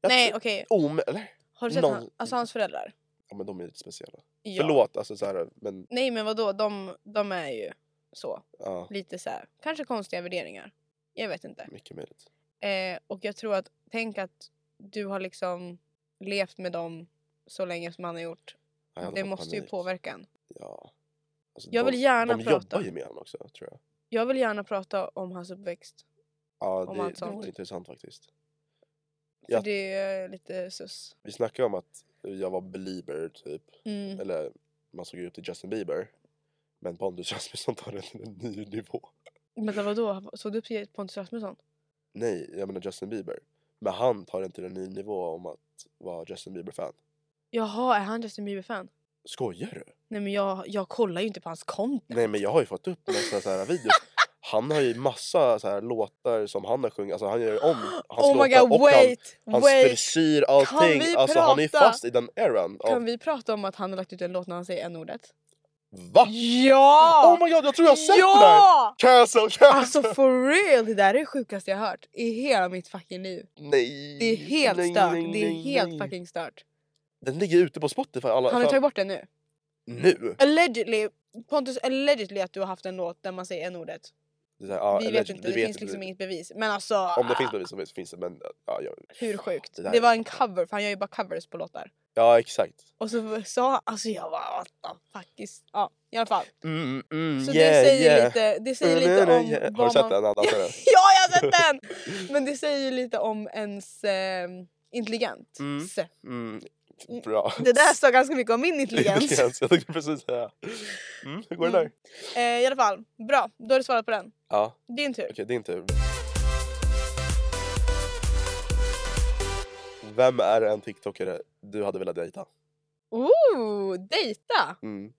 Speaker 2: Jag
Speaker 1: Nej
Speaker 2: tror-
Speaker 1: okej,
Speaker 2: Om, eller?
Speaker 1: Har du sett
Speaker 2: Någon-
Speaker 1: han, alltså hans föräldrar?
Speaker 2: Ja men de är lite speciella.
Speaker 1: Ja.
Speaker 2: Förlåt alltså så här, men
Speaker 1: Nej men vadå, de, de är ju så.
Speaker 2: ja,
Speaker 1: Lite så här, kanske konstiga värderingar. Jag vet inte.
Speaker 2: mycket möjligt.
Speaker 1: Eh, och jag tror att, tänk att du har liksom levt med dem så länge som han har gjort.
Speaker 2: Ja, jag hade
Speaker 1: Det
Speaker 2: fått
Speaker 1: måste ju
Speaker 2: panik.
Speaker 1: påverka en.
Speaker 2: Ja. Alltså,
Speaker 1: Jag
Speaker 2: de,
Speaker 1: vill gärna
Speaker 2: de
Speaker 1: prata.
Speaker 2: jobbar ju med honom också tror jag.
Speaker 1: Jag vill gärna prata om hans uppväxt.
Speaker 2: Ja
Speaker 1: Om
Speaker 2: det,
Speaker 1: allt
Speaker 2: det
Speaker 1: sånt.
Speaker 2: är intressant faktiskt.
Speaker 1: För
Speaker 2: Ja.
Speaker 1: det är lite sus.
Speaker 2: Vi snackade ju om att jag var belieber typ.
Speaker 1: Mm.
Speaker 2: Eller man såg ju upp till Justin Bieber. Men Pontus Rasmusson tar det till en ny nivå.
Speaker 1: Men vadå, såg du upp till Pontus Rasmusson?
Speaker 2: Nej, jag menar Justin Bieber. Men han tar det till en ny nivå om att vara Justin Bieber-fan.
Speaker 1: Jaha, är han Justin Bieber-fan?
Speaker 2: Skojar du?
Speaker 1: Nej men jag, jag kollar ju inte på hans content.
Speaker 2: Nej men jag har ju fått upp massa så här videos. Han har ju massa så här låtar som han har sjungit, alltså han gör ju om hans
Speaker 1: oh my
Speaker 2: låtar
Speaker 1: god,
Speaker 2: och han,
Speaker 1: wait!
Speaker 2: hans
Speaker 1: wait!
Speaker 2: frisyr,
Speaker 1: Kan
Speaker 2: allting.
Speaker 1: vi
Speaker 2: Alltså han är ju
Speaker 1: prata?
Speaker 2: fast i den eran. Av,
Speaker 1: Kan vi prata om att han har lagt ut en låt när han säger n-ordet?
Speaker 2: Va?
Speaker 1: Ja!
Speaker 2: Oh my god, jag tror jag har sett det där!
Speaker 1: ja!
Speaker 2: Cancel, cancel!
Speaker 1: Alltså for real, det där är det sjukaste jag hört i hela mitt fucking liv.
Speaker 2: nej!
Speaker 1: Det är helt
Speaker 2: nej,
Speaker 1: stört,
Speaker 2: nej,
Speaker 1: det är
Speaker 2: nej,
Speaker 1: helt
Speaker 2: nej.
Speaker 1: fucking stört.
Speaker 2: Den ligger ute på Spotify alla
Speaker 1: Han har tagit bort det nu.
Speaker 2: Nu?
Speaker 1: Allegedly, Pontus, allegedly att du har haft en låt där man säger n-ordet.
Speaker 2: Det är så här, ja,
Speaker 1: vi
Speaker 2: eller-
Speaker 1: vet inte, det finns liksom inget bevis. Men alltså,
Speaker 2: Om det finns bevis så finns det men ja, jag,
Speaker 1: hur sjukt?
Speaker 2: Det
Speaker 1: Det,
Speaker 2: där är
Speaker 1: var en cover, för han gör ju bara covers på låtar.
Speaker 2: ja exakt.
Speaker 1: Och så sa han, alltså jag bara what the fuck is... Ja, i alla fall.
Speaker 2: Mm, mm,
Speaker 1: Så
Speaker 2: yeah,
Speaker 1: det säger
Speaker 2: yeah.
Speaker 1: lite, det säger
Speaker 2: Mm,
Speaker 1: lite
Speaker 2: mm,
Speaker 1: om
Speaker 2: yeah. [LAUGHS] Har
Speaker 1: vad
Speaker 2: du sett
Speaker 1: man... [LAUGHS]
Speaker 2: den? Han dansar den?
Speaker 1: ja, jag har sett den! Men det säger ju lite om ens eh, intelligent.
Speaker 2: Mm.
Speaker 1: Se.
Speaker 2: Mm, bra. [LAUGHS]
Speaker 1: Det där sa ganska mycket om min intelligens.
Speaker 2: Intelligens, Jag tänkte precis säga. Mm, hur går det där?
Speaker 1: Mm. eh, I alla fall, bra. Då har du svarat på den.
Speaker 2: Ja, okej
Speaker 1: Din tur.
Speaker 2: din tur. Vem är en TikTokare du hade velat dejta?
Speaker 1: Ooh, dejta!
Speaker 2: Mm.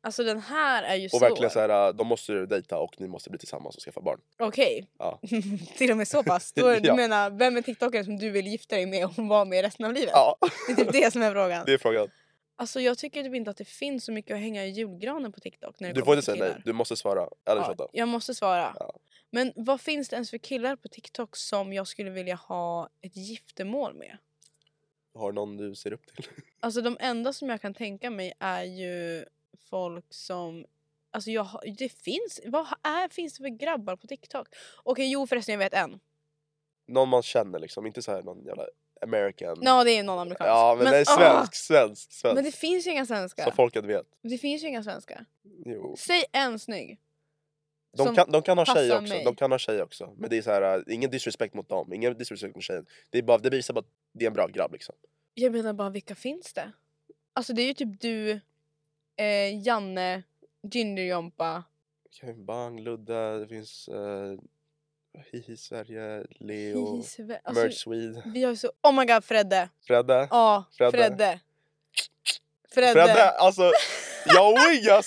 Speaker 1: Alltså den här är ju
Speaker 2: Och
Speaker 1: svår.
Speaker 2: verkligen så här, äh, de måste ju dejta och ni måste bli tillsammans och skaffa barn.
Speaker 1: Okej. [LAUGHS]
Speaker 2: Ja.
Speaker 1: Till och med så pass? Då, är- Du
Speaker 2: [LAUGHS] Ja.
Speaker 1: menar, vem är TikTokaren som du vill gifta dig med och vara med resten av livet?
Speaker 2: Ja,
Speaker 1: Det är typ det som är frågan.
Speaker 2: [LAUGHS] det är frågan.
Speaker 1: Alltså jag tycker typ inte att det finns så mycket att hänga i julgranen på TikTok. När det
Speaker 2: Du får
Speaker 1: kommer
Speaker 2: inte
Speaker 1: till
Speaker 2: säga nej,
Speaker 1: killar.
Speaker 2: du måste svara. Eller
Speaker 1: Ja,
Speaker 2: tjata.
Speaker 1: jag måste svara.
Speaker 2: Ja.
Speaker 1: Men vad finns det ens för killar på TikTok som jag skulle vilja ha ett giftermål med?
Speaker 2: Har någon du ser upp till?
Speaker 1: Alltså de enda som jag kan tänka mig är ju folk som... Alltså jag, har- det finns... Vad är, finns det för grabbar på TikTok? Okej, jo förresten jag vet
Speaker 2: Mm.
Speaker 1: en.
Speaker 2: Någon man känner liksom, inte så här någon jävla American.
Speaker 1: Ja, det är någon amerikansk.
Speaker 2: ja men, det är
Speaker 1: ah!
Speaker 2: svensk, svensk, svensk.
Speaker 1: Men det finns ju inga
Speaker 2: Så
Speaker 1: svenskar.
Speaker 2: folket vet.
Speaker 1: Det finns ju inga svenskar.
Speaker 2: Jo.
Speaker 1: Säg en snygg. som
Speaker 2: De kan, de kan ha tjej
Speaker 1: passar
Speaker 2: också,
Speaker 1: mig.
Speaker 2: de kan ha tjej också. Men det är så här, äh, ingen disrespect mot dem, ingen disrespect mot tjejen. Det, är bara, det visar bara att det är en bra grabb liksom.
Speaker 1: Jag menar bara, vilka finns det? Alltså det är ju typ du, eh, Janne, Gingerjompa.
Speaker 2: Kevin Bang, Ludde, det finns uh, Hihi Sverige, Leo,
Speaker 1: Hihi, Sve-
Speaker 2: Merch
Speaker 1: Alltså,
Speaker 2: Swede,
Speaker 1: vi har ju så... Oh my god, Fredde!
Speaker 2: Fredde.
Speaker 1: Ja,
Speaker 2: Fredde.
Speaker 1: Fredde. Fredde.
Speaker 2: Fredde, alltså jag wingar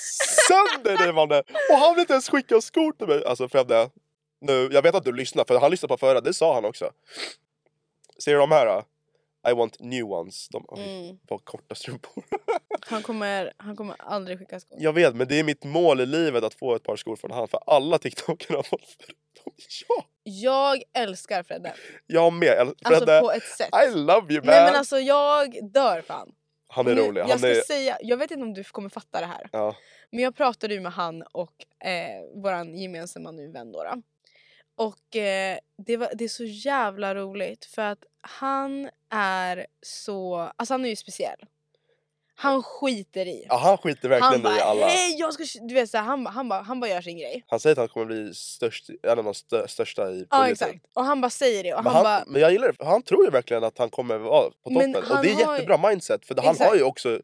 Speaker 2: sönder dig mannen! Och han vill inte ens skicka skor till mig! Alltså Fredde, nu, jag vet att du lyssnar för han lyssnar på förra, det sa han också. Ser du de här då? I want new ones. De har mm.
Speaker 1: Mm.
Speaker 2: korta strumpor.
Speaker 1: Han, kommer, han kommer aldrig skicka skor.
Speaker 2: Jag vet, men det är mitt mål i livet att få ett par skor från han för alla tiktokare har fått förutom jag.
Speaker 1: Jag älskar Fredde.
Speaker 2: Jag med. Eller,
Speaker 1: Alltså
Speaker 2: Fredde,
Speaker 1: på ett sätt.
Speaker 2: I love you man!
Speaker 1: Nej men alltså jag dör fan.
Speaker 2: han är
Speaker 1: Nu-
Speaker 2: rolig.
Speaker 1: jag,
Speaker 2: Han
Speaker 1: ska
Speaker 2: är...
Speaker 1: säga, jag vet inte om du kommer fatta det här.
Speaker 2: Ja.
Speaker 1: Men jag pratade ju med han och eh, våran gemensamma nu vän då. då. Och eh, det, var, det är så jävla roligt för att han är så... Alltså han är ju speciell. Han skiter i.
Speaker 2: Ja, han skiter verkligen
Speaker 1: han bara
Speaker 2: i alla.
Speaker 1: hej jag ska... Du vet så här, han, bara- han, bara, han bara gör sin grej.
Speaker 2: Han säger att han kommer bli störst, en av de stö, största i
Speaker 1: Ja
Speaker 2: polisen.
Speaker 1: exakt. Och han bara säger det och
Speaker 2: Men,
Speaker 1: han,
Speaker 2: han,
Speaker 1: bara...
Speaker 2: men jag gillar det, för han tror ju verkligen att han kommer vara på
Speaker 1: Men
Speaker 2: toppen. Och
Speaker 1: han
Speaker 2: det är
Speaker 1: har ju-
Speaker 2: jättebra mindset för han har
Speaker 1: Exakt.
Speaker 2: ju också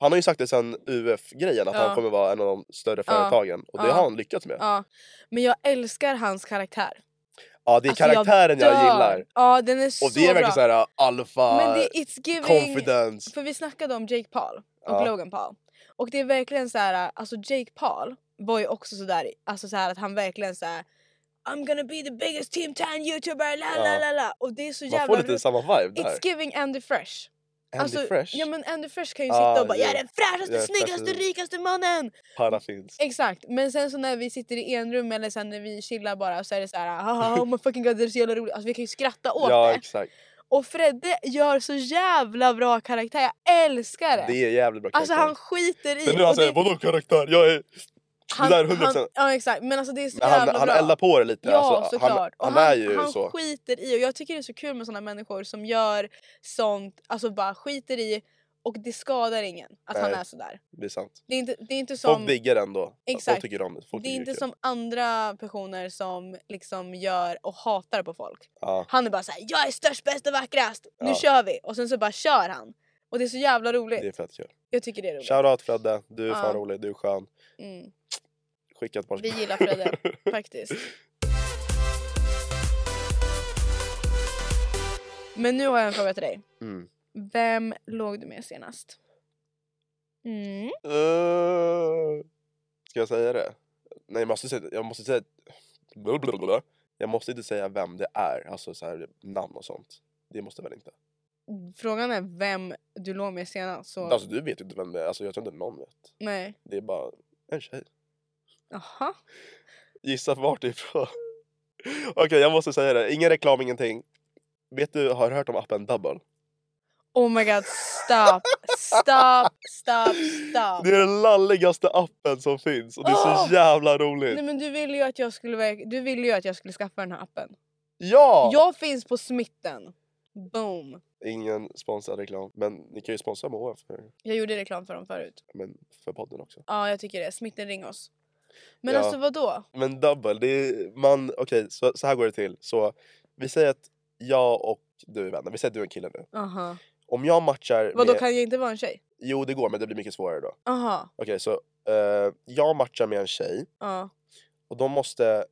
Speaker 2: han har ju sagt det sen UF-grejen att
Speaker 1: Ja.
Speaker 2: han kommer vara en av de större
Speaker 1: Ja.
Speaker 2: företagen och det
Speaker 1: Ja.
Speaker 2: har han lyckats med. Ja,
Speaker 1: Ja. Men jag älskar hans karaktär.
Speaker 2: det är
Speaker 1: Alltså,
Speaker 2: karaktären jag,
Speaker 1: dör.
Speaker 2: gillar.
Speaker 1: Ja den är så
Speaker 2: Och det
Speaker 1: bra.
Speaker 2: är verkligen äh, såhär alfa,
Speaker 1: Men det, it's giving...
Speaker 2: confidence.
Speaker 1: För vi snackade om Jake Paul och
Speaker 2: Ja.
Speaker 1: Logan Paul. Och det är verkligen så här, alltså Jake Paul var ju också sådär, alltså så här att han verkligen så här. I'm gonna be the biggest team 10 youtuber, la la
Speaker 2: Ja.
Speaker 1: la la. Och det är så
Speaker 2: Man
Speaker 1: jävla
Speaker 2: får lite
Speaker 1: roligt.
Speaker 2: samma vibe där.
Speaker 1: It's giving Andy Fresh. Alltså,
Speaker 2: Andy Fresh,
Speaker 1: Ja men Andy Fresh kan ju
Speaker 2: Ah,
Speaker 1: sitta och bara
Speaker 2: ja.
Speaker 1: jag är den fräschaste,
Speaker 2: Jag är
Speaker 1: snyggaste,
Speaker 2: fräschaste."
Speaker 1: rikaste mannen.
Speaker 2: parafinsk.
Speaker 1: Exakt, men sen så när vi sitter i en rum eller sen när vi chillar bara så är det så här, haha oh my fucking god det är så jävla roligt. Alltså vi kan ju skratta åt
Speaker 2: Ja
Speaker 1: det.
Speaker 2: exakt.
Speaker 1: Och Fredde gör så jävla bra karaktär, jag älskar det!
Speaker 2: Det är jävligt bra
Speaker 1: Alltså
Speaker 2: karaktär.
Speaker 1: han skiter i...
Speaker 2: Men nu han
Speaker 1: och det-
Speaker 2: säger vadå karaktär? Jag är... det där är hundra
Speaker 1: han,
Speaker 2: procent.
Speaker 1: Ja exakt, men alltså det är så
Speaker 2: Men han,
Speaker 1: jävla
Speaker 2: han
Speaker 1: bra.
Speaker 2: eldar på det lite.
Speaker 1: Ja
Speaker 2: alltså, han, han,
Speaker 1: såklart. Och
Speaker 2: är ju
Speaker 1: han
Speaker 2: så.
Speaker 1: skiter i och jag tycker det är så kul med såna människor som gör sånt, alltså bara skiter i och det skadar ingen att han
Speaker 2: Nej.
Speaker 1: är sådär.
Speaker 2: Det är sant.
Speaker 1: Det är inte, det är inte
Speaker 2: Folk
Speaker 1: som,
Speaker 2: diggar den då. Folk
Speaker 1: Exakt.
Speaker 2: tycker om det. Folk
Speaker 1: det är
Speaker 2: tycker
Speaker 1: inte
Speaker 2: kul.
Speaker 1: som andra personer som liksom gör och hatar på folk.
Speaker 2: Ja.
Speaker 1: Han är bara såhär “jag är störst, bäst och vackrast, nu
Speaker 2: Ja.
Speaker 1: kör vi!” och sen så bara kör han. Och det är så jävla roligt.
Speaker 2: Det är fett kul.
Speaker 1: Jag tycker det är roligt.
Speaker 2: Shoutout Fredde, du är fan
Speaker 1: Ja.
Speaker 2: rolig, du är skön.
Speaker 1: Mm.
Speaker 2: Skicka ett par
Speaker 1: Vi gillar
Speaker 2: [LAUGHS]
Speaker 1: Fredde, faktiskt. Men nu har jag en fråga till dig.
Speaker 2: Mm.
Speaker 1: Vem låg du med senast? Mm.
Speaker 2: Eh, Ska jag säga det? Nej jag måste säga... Jag måste säga... Blablabla. Jag måste inte säga vem det är, alltså så här, namn och sånt. Det måste jag väl inte?
Speaker 1: Frågan är vem du låg med senast. Så...
Speaker 2: Alltså du vet ju inte vem det är, alltså, jag tror inte någon vet.
Speaker 1: Nej.
Speaker 2: Det är bara en tjej.
Speaker 1: Jaha.
Speaker 2: Gissa vart det är ifrån. [LAUGHS] Okej jag måste säga det, ingen reklam, ingenting. Vet du, har du hört om appen Double?
Speaker 1: Oh my god, stop, stop, stop, stop.
Speaker 2: Det är den lalligaste appen som finns och det är
Speaker 1: Åh!
Speaker 2: så jävla roligt.
Speaker 1: Nej men du ville ju att jag skulle, verk- du ville ju att jag skulle skaffa den här appen.
Speaker 2: Ja!
Speaker 1: Jag finns på smitten. Boom.
Speaker 2: Ingen sponsrad reklam, men ni kan ju sponsra MHF för,
Speaker 1: Jag gjorde reklam för dem förut.
Speaker 2: men för podden också.
Speaker 1: Ja, jag tycker det. Smitten ring oss. Men
Speaker 2: Ja.
Speaker 1: alltså vad då?
Speaker 2: Men double, det är man, okej så, så här går det till. Så vi säger att jag och du är vänner, vi säger att du är en kille nu.
Speaker 1: Aha.
Speaker 2: Om jag matchar
Speaker 1: Vad då
Speaker 2: med,
Speaker 1: kan jag inte vara en tjej?
Speaker 2: jo det går men det blir mycket svårare då. Okej
Speaker 1: Aha.
Speaker 2: så eh, jag matchar med en tjej
Speaker 1: Ja,
Speaker 2: och då måste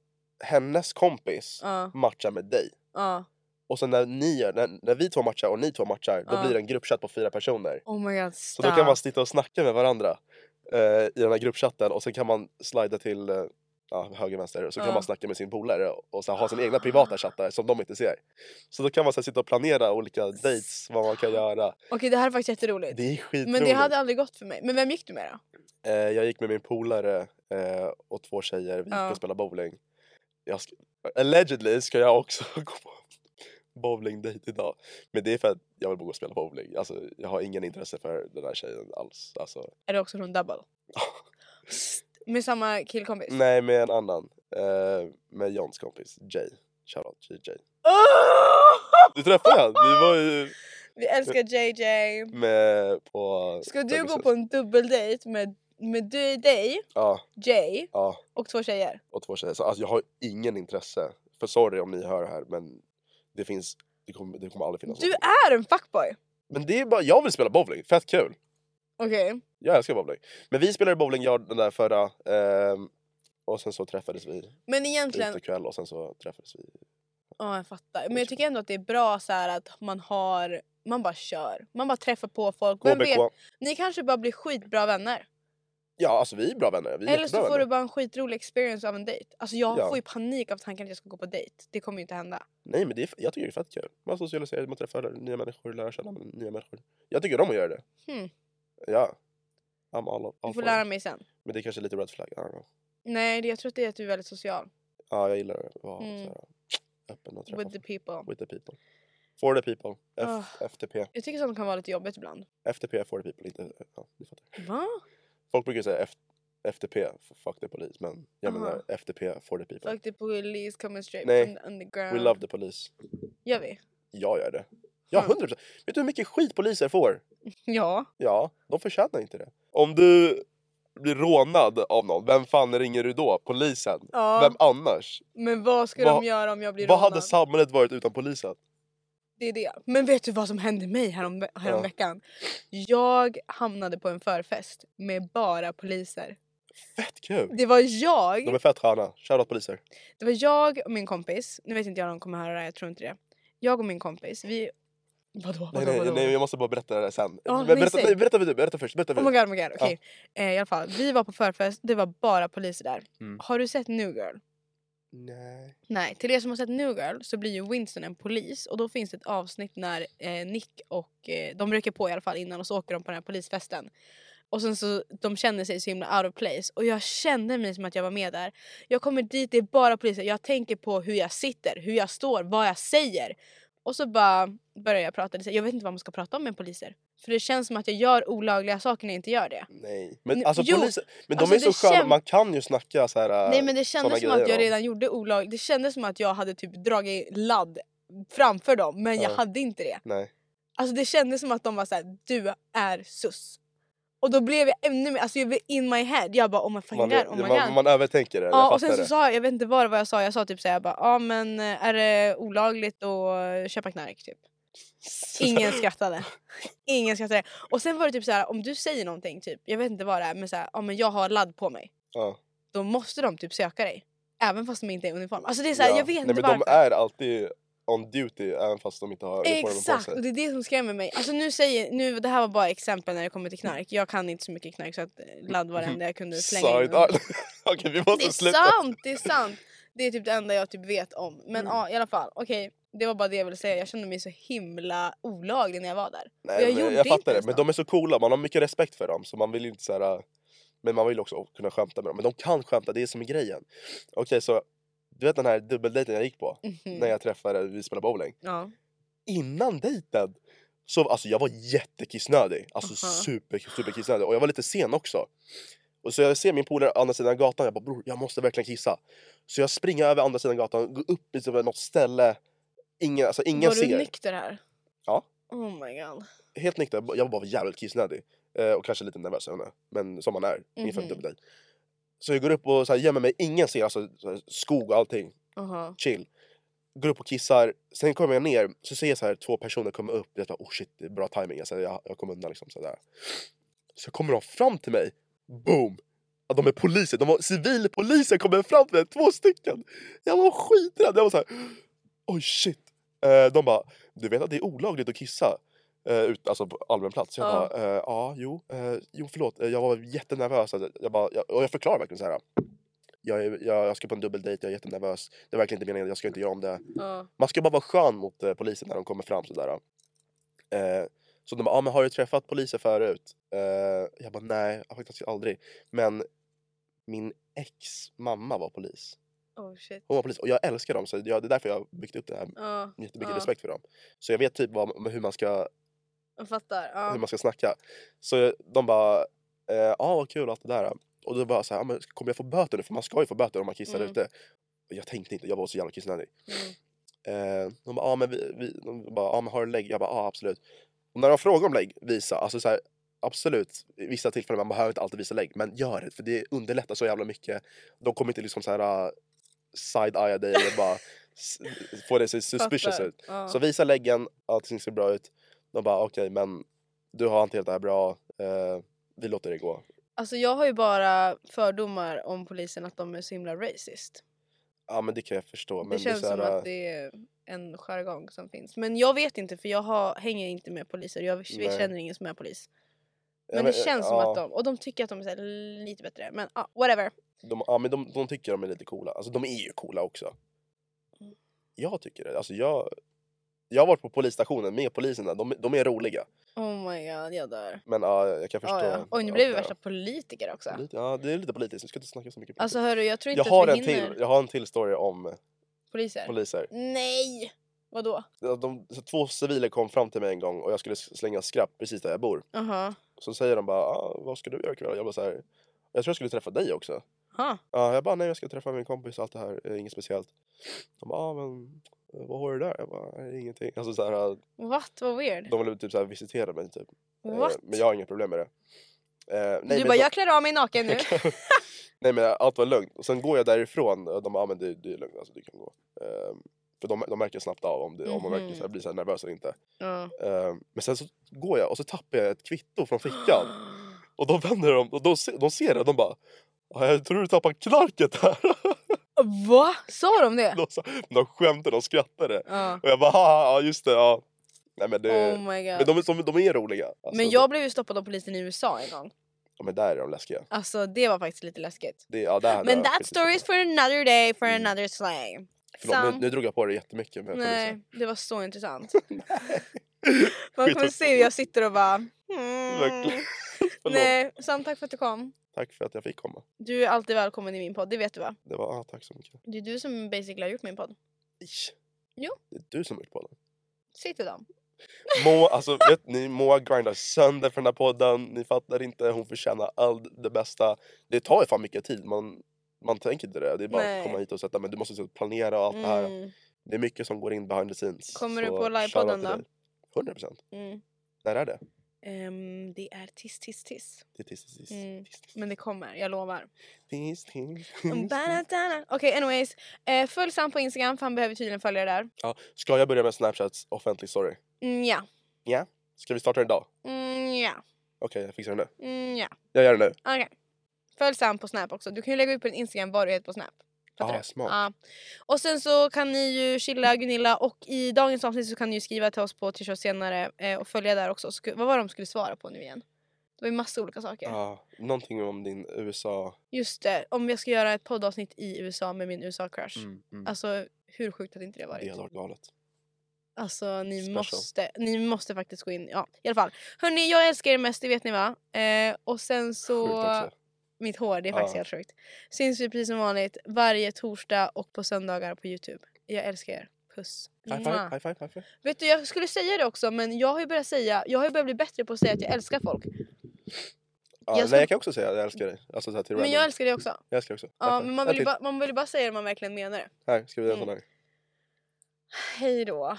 Speaker 2: hennes kompis
Speaker 1: ja,
Speaker 2: matcha med dig.
Speaker 1: ja.
Speaker 2: Och sen när, ni, gör- när, när vi två matchar och ni två matchar då
Speaker 1: Ja.
Speaker 2: blir det en gruppchatt på fyra personer.
Speaker 1: Oh my god,
Speaker 2: Så
Speaker 1: stop.
Speaker 2: då kan man sitta och snacka med varandra eh, i den här gruppchatten och sen kan man slida till eh, ja, höger vänster och så kan
Speaker 1: Ja. Ah.
Speaker 2: man snacka med sin polare och sen ha sina egna privata chattar som de inte ser. Så då kan man så här, sitta och planera olika dates, vad man kan göra.
Speaker 1: Okej, det här är faktiskt jätteroligt.
Speaker 2: Det är skitroligt.
Speaker 1: Men det hade aldrig gått för mig. Men vem gick du med då?
Speaker 2: eh, jag gick med min polare eh, och två tjejer, vi gick
Speaker 1: Ja.
Speaker 2: och spelade bowling. Jag ska... Allegedly ska jag också [LAUGHS] gå på bowlingdejt idag. Men det är för att jag vill bara gå och spela bowling. Alltså, jag har ingen intresse för den här tjejen alls. Alltså,
Speaker 1: Är det också från
Speaker 2: [LAUGHS]
Speaker 1: Double? Med samma killkompis?
Speaker 2: Nej, med en annan. Eh, med Johns kompis, Jay. Shoutout till Jay.
Speaker 1: Åh!
Speaker 2: Du träffade han! Vi var ju
Speaker 1: Vi älskar JJ.
Speaker 2: med på...
Speaker 1: Ska du
Speaker 2: Fergusons.
Speaker 1: gå på en dubbeldejt med, med du, dig,
Speaker 2: Ja,
Speaker 1: Jay
Speaker 2: ja.
Speaker 1: och två tjejer?
Speaker 2: Och två tjejer. Så, alltså, jag har ingen intresse. För sorry om ni hör det här, men det finns... Det kommer, det kommer aldrig finnas
Speaker 1: Du
Speaker 2: någonting.
Speaker 1: är en fuckboy!
Speaker 2: Men det är bara... Jag vill spela bowling. Fett kul!
Speaker 1: Okej.
Speaker 2: Jag älskar bowling. Men vi spelade bowling, jag den där förra. ehm, och sen så träffades vi
Speaker 1: Men egentligen,
Speaker 2: utekväll och sen så träffades vi.
Speaker 1: Ja, jag fattar. Men jag tycker ändå att det är bra så här att man har... Man bara kör. Man bara träffar på folk. Vem vet,
Speaker 2: KBK.
Speaker 1: ni kanske bara blir skitbra vänner.
Speaker 2: Ja, alltså vi är bra vänner. Vi
Speaker 1: Eller
Speaker 2: är
Speaker 1: så
Speaker 2: jättebra
Speaker 1: får
Speaker 2: vänner.
Speaker 1: du bara en skitrolig experience av en dejt. Alltså jag
Speaker 2: Ja.
Speaker 1: får ju panik av tanken att jag ska gå på dejt. Det kommer ju inte hända.
Speaker 2: Nej men det är, jag tycker det är fett kul. Man socialiserar, man träffar nya människor, lär känna nya människor. Jag tycker om att göra det.
Speaker 1: Hmm.
Speaker 2: Ja. I'm all, all
Speaker 1: Du får
Speaker 2: for
Speaker 1: lära
Speaker 2: it.
Speaker 1: mig sen.
Speaker 2: Men det är kanske lite red flag, I don't know.
Speaker 1: Nej, det- jag tror att det är att du är väldigt social.
Speaker 2: Ja jag gillar att vara
Speaker 1: Mm.
Speaker 2: såhär, öppen och träffa
Speaker 1: With the
Speaker 2: folk.
Speaker 1: people.
Speaker 2: with the people. For the people. F,
Speaker 1: Ah.
Speaker 2: FTP.
Speaker 1: Jag tycker sånt kan vara lite jobbigt ibland.
Speaker 2: FTP är for the people, inte... Ja, ni fattar.
Speaker 1: Va?
Speaker 2: Folk brukar säga F, FTP, f- fuck the police, men jag
Speaker 1: Aha.
Speaker 2: menar FTP, for the people.
Speaker 1: Fuck the police typ, coming straight
Speaker 2: Nej.
Speaker 1: from the underground.
Speaker 2: We love the police.
Speaker 1: Gör vi?
Speaker 2: Jag gör det. Ja,
Speaker 1: Hmm.
Speaker 2: 100%. Vet du hur mycket skit poliser får?
Speaker 1: Ja.
Speaker 2: Ja, de förtjänar inte det. Om du blir rånad av någon, vem fan ringer du då? Polisen?
Speaker 1: ja.
Speaker 2: Vem annars?
Speaker 1: Men vad ska
Speaker 2: Vad-
Speaker 1: de göra om jag blir
Speaker 2: Vad
Speaker 1: rånad?
Speaker 2: hade samhället varit utan polisen?
Speaker 1: Det är det. Men vet du vad som hände mig härom, härom veckan? Jag hamnade på en förfest med bara poliser.
Speaker 2: Fett kul!
Speaker 1: Det var
Speaker 2: De
Speaker 1: jag,
Speaker 2: är fett sköna. Shoutout poliser.
Speaker 1: det var jag och min kompis. Nu vet inte jag om de kommer höra det här, jag tror inte det. Jag och min kompis, vi... Vadå?
Speaker 2: Nej,
Speaker 1: vadå, vadå?
Speaker 2: nej, nej, jag måste bara berätta det här sen.
Speaker 1: Ja,
Speaker 2: Men
Speaker 1: nej,
Speaker 2: berätta,
Speaker 1: säg.
Speaker 2: nej, berätta, berätta, berätta först. Berätta
Speaker 1: Oh my god, oh my god. Okej. Eh, I alla fall, vi var på förfest, det var bara poliser där.
Speaker 2: Mm.
Speaker 1: Har du sett New Girl?
Speaker 2: Nej.
Speaker 1: Nej, till er som har sett New Girl så blir ju Winston en polis och då finns det ett avsnitt när eh, Nick och eh, de röker på i alla fall innan och så åker de på den här polisfesten. Och sen så de känner sig så himla out of place och jag kände mig som att jag var med där. Jag kommer dit, det är bara poliser. Jag tänker på hur jag sitter, hur jag står, vad jag säger. Och så bara börjar jag prata lite. Jag vet inte vad man ska prata om med poliser. För det känns som att jag gör olagliga saker när jag inte gör det.
Speaker 2: Nej. Men
Speaker 1: Nej,
Speaker 2: alltså
Speaker 1: jo.
Speaker 2: poliser, men de
Speaker 1: Alltså,
Speaker 2: är
Speaker 1: det
Speaker 2: så sköna,
Speaker 1: käm-
Speaker 2: man kan ju snacka så här.
Speaker 1: Nej men det
Speaker 2: såna
Speaker 1: kändes som
Speaker 2: grejer
Speaker 1: att jag
Speaker 2: då.
Speaker 1: redan gjorde olag. Det kändes som att jag hade typ dragit ladd framför dem men jag
Speaker 2: Ja.
Speaker 1: hade inte det.
Speaker 2: Nej.
Speaker 1: Alltså det kändes som att de var så här: du är sus. Och då blev jag ännu mer, alltså jag blev in my head. Jag bara oh my fucking
Speaker 2: Man,
Speaker 1: god, oh my god.
Speaker 2: man, man övertänker det,
Speaker 1: ja,
Speaker 2: jag
Speaker 1: och
Speaker 2: fattar
Speaker 1: sen så
Speaker 2: det.
Speaker 1: sa jag, jag vet inte vad det var jag sa, jag sa typ såhär jag bara ja men eh, är det olagligt att köpa knark typ.
Speaker 2: [LAUGHS]
Speaker 1: Ingen skrattade. Ingen skrattade. Och sen var det typ så här om du säger någonting typ, jag vet inte vad det är men såhär ja men jag har ladd på mig.
Speaker 2: Ja.
Speaker 1: Då måste de typ söka dig. Även fast de inte är i uniform. Alltså det är såhär,
Speaker 2: Ja.
Speaker 1: jag vet
Speaker 2: Nej,
Speaker 1: inte
Speaker 2: men
Speaker 1: varför.
Speaker 2: De är alltid on duty även fast de inte har uniformen på
Speaker 1: Exakt, och
Speaker 2: sig.
Speaker 1: det är det som skrämmer mig. Alltså nu säger, nu, det här var bara exempel när det kommer till knark. Jag kan inte så mycket knark så att eh, ladd var det enda jag kunde slänga in.
Speaker 2: Side art. [LAUGHS] Okej vi
Speaker 1: Det
Speaker 2: måste
Speaker 1: är
Speaker 2: sluta.
Speaker 1: sant, det är sant! Det är typ det enda jag typ vet om.
Speaker 2: Mm.
Speaker 1: Men ja, i alla fall. Okej, det var bara det jag ville säga. Jag kände mig så himla olaglig när jag var där. Och
Speaker 2: Nej, men
Speaker 1: gjorde
Speaker 2: jag
Speaker 1: inte
Speaker 2: fattar det,
Speaker 1: ens
Speaker 2: men
Speaker 1: något.
Speaker 2: de är så coola, man har mycket respekt för dem så man vill ju inte så här. Men man vill ju också kunna skämta med dem, men de kan skämta, det är som är grejen. Okej så, du vet den här dubbeldejten jag gick på?
Speaker 1: Mhm.
Speaker 2: När jag träffade, vi spelade bowling.
Speaker 1: Ja.
Speaker 2: innan dejten så alltså jag var jättekissnödig. Alltså
Speaker 1: Aha.
Speaker 2: super, super kissnödig. Och jag var lite sen också. Och så jag ser min polare andra sidan gatan. Jag bara bror, jag måste verkligen kissa. Så jag springer över andra sidan gatan, går upp i typ något ställe. Ingen, alltså ingen
Speaker 1: var
Speaker 2: ser.
Speaker 1: du nykter här?
Speaker 2: Ja.
Speaker 1: Oh my god.
Speaker 2: Helt nykter. Jag bara- Jag var bara jävligt kissnödig. Eh, och kanske lite nervös, jag vet inte. Men som man är inför en
Speaker 1: Mhm.
Speaker 2: dubbeldejt. Så jag går upp och så här, gömmer mig. Ingen ser, alltså så här, skog och allting
Speaker 1: Aha.
Speaker 2: chill. Går upp och kissar, sen kommer jag ner, så ser jag så här två personer komma upp. Jag bara oh shit, det är bra timing. Alltså, jag, jag kommer undan liksom sådär. Så kommer de fram till mig, boom! Ja, de är poliser, de var civilpoliser kommer fram till mig, två stycken! Jag var skiträdd, jag var såhär, oj shit! Eh, de bara, du vet att det är olagligt att kissa? eh, ut, alltså på allmän plats. Jag
Speaker 1: Ja.
Speaker 2: bara, eh, ja, jo, eh, jo, förlåt. Eh, Jag var jättenervös. Alltså, jag bara, jag, och jag förklarar verkligen så här. Jag, är- jag, jag ska på en dubbeldejt, jag är jättenervös. Det är verkligen inte meningen, jag ska inte göra om det.
Speaker 1: Ja.
Speaker 2: Man ska bara vara skön mot eh, polisen när de kommer fram sådär. Eh, så de bara, ah, men har du träffat poliser förut? Eh, jag bara, nej, jag har faktiskt aldrig. Men min ex mamma var polis.
Speaker 1: Oh shit.
Speaker 2: Hon var polis och jag älskar dem, så jag, det är därför jag har byggt upp det här.
Speaker 1: Ja,
Speaker 2: Jättemycket
Speaker 1: Ja.
Speaker 2: respekt för dem. Så jag vet typ vad, hur man ska
Speaker 1: jag fattar.
Speaker 2: hur
Speaker 1: Ja.
Speaker 2: man ska snacka. Så de bara, ja eh, ah, vad kul och allt det där. Och då bara så här, ah, men kommer jag få böter nu? För man ska ju få böter om man kissar
Speaker 1: Mm.
Speaker 2: ute. Och Jag tänkte inte, jag var så jävla kissnödig.
Speaker 1: Mm.
Speaker 2: Eh, de bara, ah, men vi, vi, de bara, ah, men har du lägg? Jag bara, ah, absolut. Och när de frågar om lägg, visa. Alltså så här, absolut, i vissa tillfällen, man behöver inte alltid visa lägg. Men gör det, för det underlättar så jävla mycket. De kommer inte liksom så här ah, side-eye dig eller bara s- få dig att se suspicious
Speaker 1: Fattar.
Speaker 2: ut.
Speaker 1: Ja.
Speaker 2: Så visa läggen, allting ser bra ut. De bara okej men du har hanterat det här bra, eh, vi låter det gå.
Speaker 1: Alltså jag har ju bara fördomar om polisen att de är så himla racist.
Speaker 2: Ja men det kan jag förstå. Men
Speaker 1: det känns
Speaker 2: det är så
Speaker 1: som
Speaker 2: här, äh,
Speaker 1: att det är en jargong som finns. Men jag vet inte för jag har, hänger inte med poliser. Jag
Speaker 2: Nej.
Speaker 1: känner ingen som är polis.
Speaker 2: ja, eh,
Speaker 1: Men, det känns som
Speaker 2: ja,
Speaker 1: att de, och de tycker att de är så här lite bättre. Men ja, whatever.
Speaker 2: de... Ja men de, de tycker de är lite coola, alltså de är ju coola också.
Speaker 1: Mm.
Speaker 2: Jag tycker det, alltså jag... Jag har varit på polisstationen med poliserna, de, de är roliga.
Speaker 1: Oh my god, jag dör.
Speaker 2: Men ja, jag kan förstå.
Speaker 1: Ja, ja. Oj, nu
Speaker 2: allt
Speaker 1: blev vi
Speaker 2: det här.
Speaker 1: värsta politiker också.
Speaker 2: Lite- Ja, det är lite politiskt, vi ska inte snacka så mycket. politik.
Speaker 1: Alltså hörru, jag tror inte
Speaker 2: jag, har
Speaker 1: att
Speaker 2: en
Speaker 1: vi hinner.
Speaker 2: till, jag har en till story om
Speaker 1: Poliser?
Speaker 2: poliser.
Speaker 1: Nej! Vadå?
Speaker 2: De, de, så två civiler kom fram till mig en gång och jag skulle s- slänga skräp precis där jag bor.
Speaker 1: Jaha.
Speaker 2: Så säger de bara, ah, vad ska du göra ikväll? Jag bara så här, jag tror jag skulle träffa dig också.
Speaker 1: Ha.
Speaker 2: Ja, jag bara, nej jag ska träffa min kompis och allt det här, eh, inget speciellt. De bara, ah, men eh, vad har du där? Jag bara, nej, ingenting. Alltså så här, eh,
Speaker 1: What? Vad weird.
Speaker 2: de ville typ så här visitera mig typ. Eh,
Speaker 1: What?
Speaker 2: Men jag har inga problem med det. Eh, nej,
Speaker 1: du
Speaker 2: men
Speaker 1: bara,
Speaker 2: så-
Speaker 1: jag klär av mig naken
Speaker 2: [LAUGHS]
Speaker 1: nu.
Speaker 2: nej men allt var lugnt. Och sen går jag därifrån och de bara, ah, men det, det är lugnt, alltså du kan gå. Eh, för de, de märker snabbt av om, det, om man verkligen
Speaker 1: Mhm.
Speaker 2: så här, blir så här nervös eller inte.
Speaker 1: ja.
Speaker 2: Eh, men sen så går jag och så tappar jag ett kvitto från fickan. Och då vänder de och de, se- de ser det och de bara "Ja, jag tror du tappar knarket här. [LAUGHS]
Speaker 1: Va? Sa de det?
Speaker 2: De, sa- de skämtade, de skrattade.
Speaker 1: Ja.
Speaker 2: Och jag bara "Haha, ja just det ja. Nej men det,
Speaker 1: Oh my god.
Speaker 2: men de, är- de, de är roliga. Alltså,
Speaker 1: Men jag blev ju stoppad av polisen i USA en gång.
Speaker 2: ja, men där är de läskiga.
Speaker 1: Alltså det var faktiskt lite läskigt.
Speaker 2: Det, ja, där,
Speaker 1: Men
Speaker 2: där-
Speaker 1: that story is for another day, for
Speaker 2: Mm.
Speaker 1: another slang.
Speaker 2: Förlåt,
Speaker 1: Sam.
Speaker 2: nu, nu drog jag på det jättemycket med
Speaker 1: Nej,
Speaker 2: polisen.
Speaker 1: det var så
Speaker 2: [LAUGHS]
Speaker 1: intressant. [LAUGHS] Man
Speaker 2: Skit
Speaker 1: kommer
Speaker 2: också.
Speaker 1: se hur jag sitter och bara... Mm.
Speaker 2: Verkligen.
Speaker 1: [LAUGHS]
Speaker 2: Förlåt.
Speaker 1: Nej, Sam tack för att du kom.
Speaker 2: Tack för att jag fick komma.
Speaker 1: Du är alltid välkommen i min podd, det vet du va?
Speaker 2: Det var, ah, tack så mycket.
Speaker 1: Det är du som basically har gjort min podd.
Speaker 2: Ish.
Speaker 1: Jo.
Speaker 2: Det är du som har gjort på den.
Speaker 1: Sitter de?
Speaker 2: Moa, alltså, vet ni, Moa grindar sönder för den här podden. Ni fattar inte, hon förtjänar allt det bästa. Det tar ju fan mycket tid. Man, man tänker inte det. Det är bara
Speaker 1: Nej.
Speaker 2: att komma hit och sätta men Du måste sitta och planera och allt det här.
Speaker 1: Mm.
Speaker 2: Det är mycket som går in behind the scenes.
Speaker 1: Kommer du
Speaker 2: Så
Speaker 1: på livepodden
Speaker 2: shoutout till
Speaker 1: då?
Speaker 2: dig. 100 procent.
Speaker 1: Mm.
Speaker 2: När är det?
Speaker 1: Ehm, det är tis tis tis.
Speaker 2: Det är tis, tis, tis.
Speaker 1: Mm.
Speaker 2: tis, tis,
Speaker 1: Men det kommer, jag lovar.
Speaker 2: tis, tis,
Speaker 1: Mm,
Speaker 2: tis, tis.
Speaker 1: ba-da-da-da. Okej anyways, eh, följ Sam på Instagram för han behöver tydligen följa det där.
Speaker 2: Ja, ska jag börja med Snapchats offentlig story?
Speaker 1: Mm, ja.
Speaker 2: Ska vi starta den idag?
Speaker 1: Mm, ja.
Speaker 2: Okej, jag fixar det nu.
Speaker 1: Mm, ja.
Speaker 2: Jag gör det nu.
Speaker 1: Okej. Följ Sam på Snap också. Du kan ju lägga ut på din Instagram vad du heter på Snap. Fattar
Speaker 2: Ah,
Speaker 1: du?
Speaker 2: smart.
Speaker 1: Ja. Och sen så kan ni ju chilla Gunilla och i dagens avsnitt så kan ni ju skriva till oss på Tisha senare eh, och följa där också. Sku- vad var det de skulle svara på nu igen? Det var ju massa olika saker.
Speaker 2: Ja, någonting om din USA...
Speaker 1: Just det, om jag ska göra ett poddavsnitt i USA med min USA-crush.
Speaker 2: Mm, mm.
Speaker 1: Alltså hur sjukt hade inte det varit?
Speaker 2: det hade varit galet.
Speaker 1: Alltså ni
Speaker 2: Special.
Speaker 1: måste, ni måste faktiskt gå in. Ja, i alla fall. Hörni, jag älskar er mest, det vet ni va? Eh, och sen
Speaker 2: Sjukt
Speaker 1: så...
Speaker 2: också.
Speaker 1: Mitt hår, det är faktiskt
Speaker 2: Ja.
Speaker 1: helt sjukt. Syns vi precis som vanligt varje torsdag och på söndagar på Youtube. Jag älskar er. Puss.
Speaker 2: High
Speaker 1: Mwah.
Speaker 2: five, high five, high five.
Speaker 1: Vet du, jag skulle säga det också men jag har ju börjat säga, jag har ju börjat bli bättre på att säga att jag älskar folk.
Speaker 2: Ja,
Speaker 1: Jag ska-
Speaker 2: Nej, jag kan också säga att jag älskar dig. Alltså så här till
Speaker 1: Men
Speaker 2: random.
Speaker 1: jag älskar det också.
Speaker 2: Jag älskar också. High
Speaker 1: Ja,
Speaker 2: five.
Speaker 1: men man
Speaker 2: En
Speaker 1: vill, ju
Speaker 2: till.
Speaker 1: bara, Mm. man vill ju bara säga det man verkligen menar det.
Speaker 2: Här, ska vi göra en sån här?
Speaker 1: Hej då.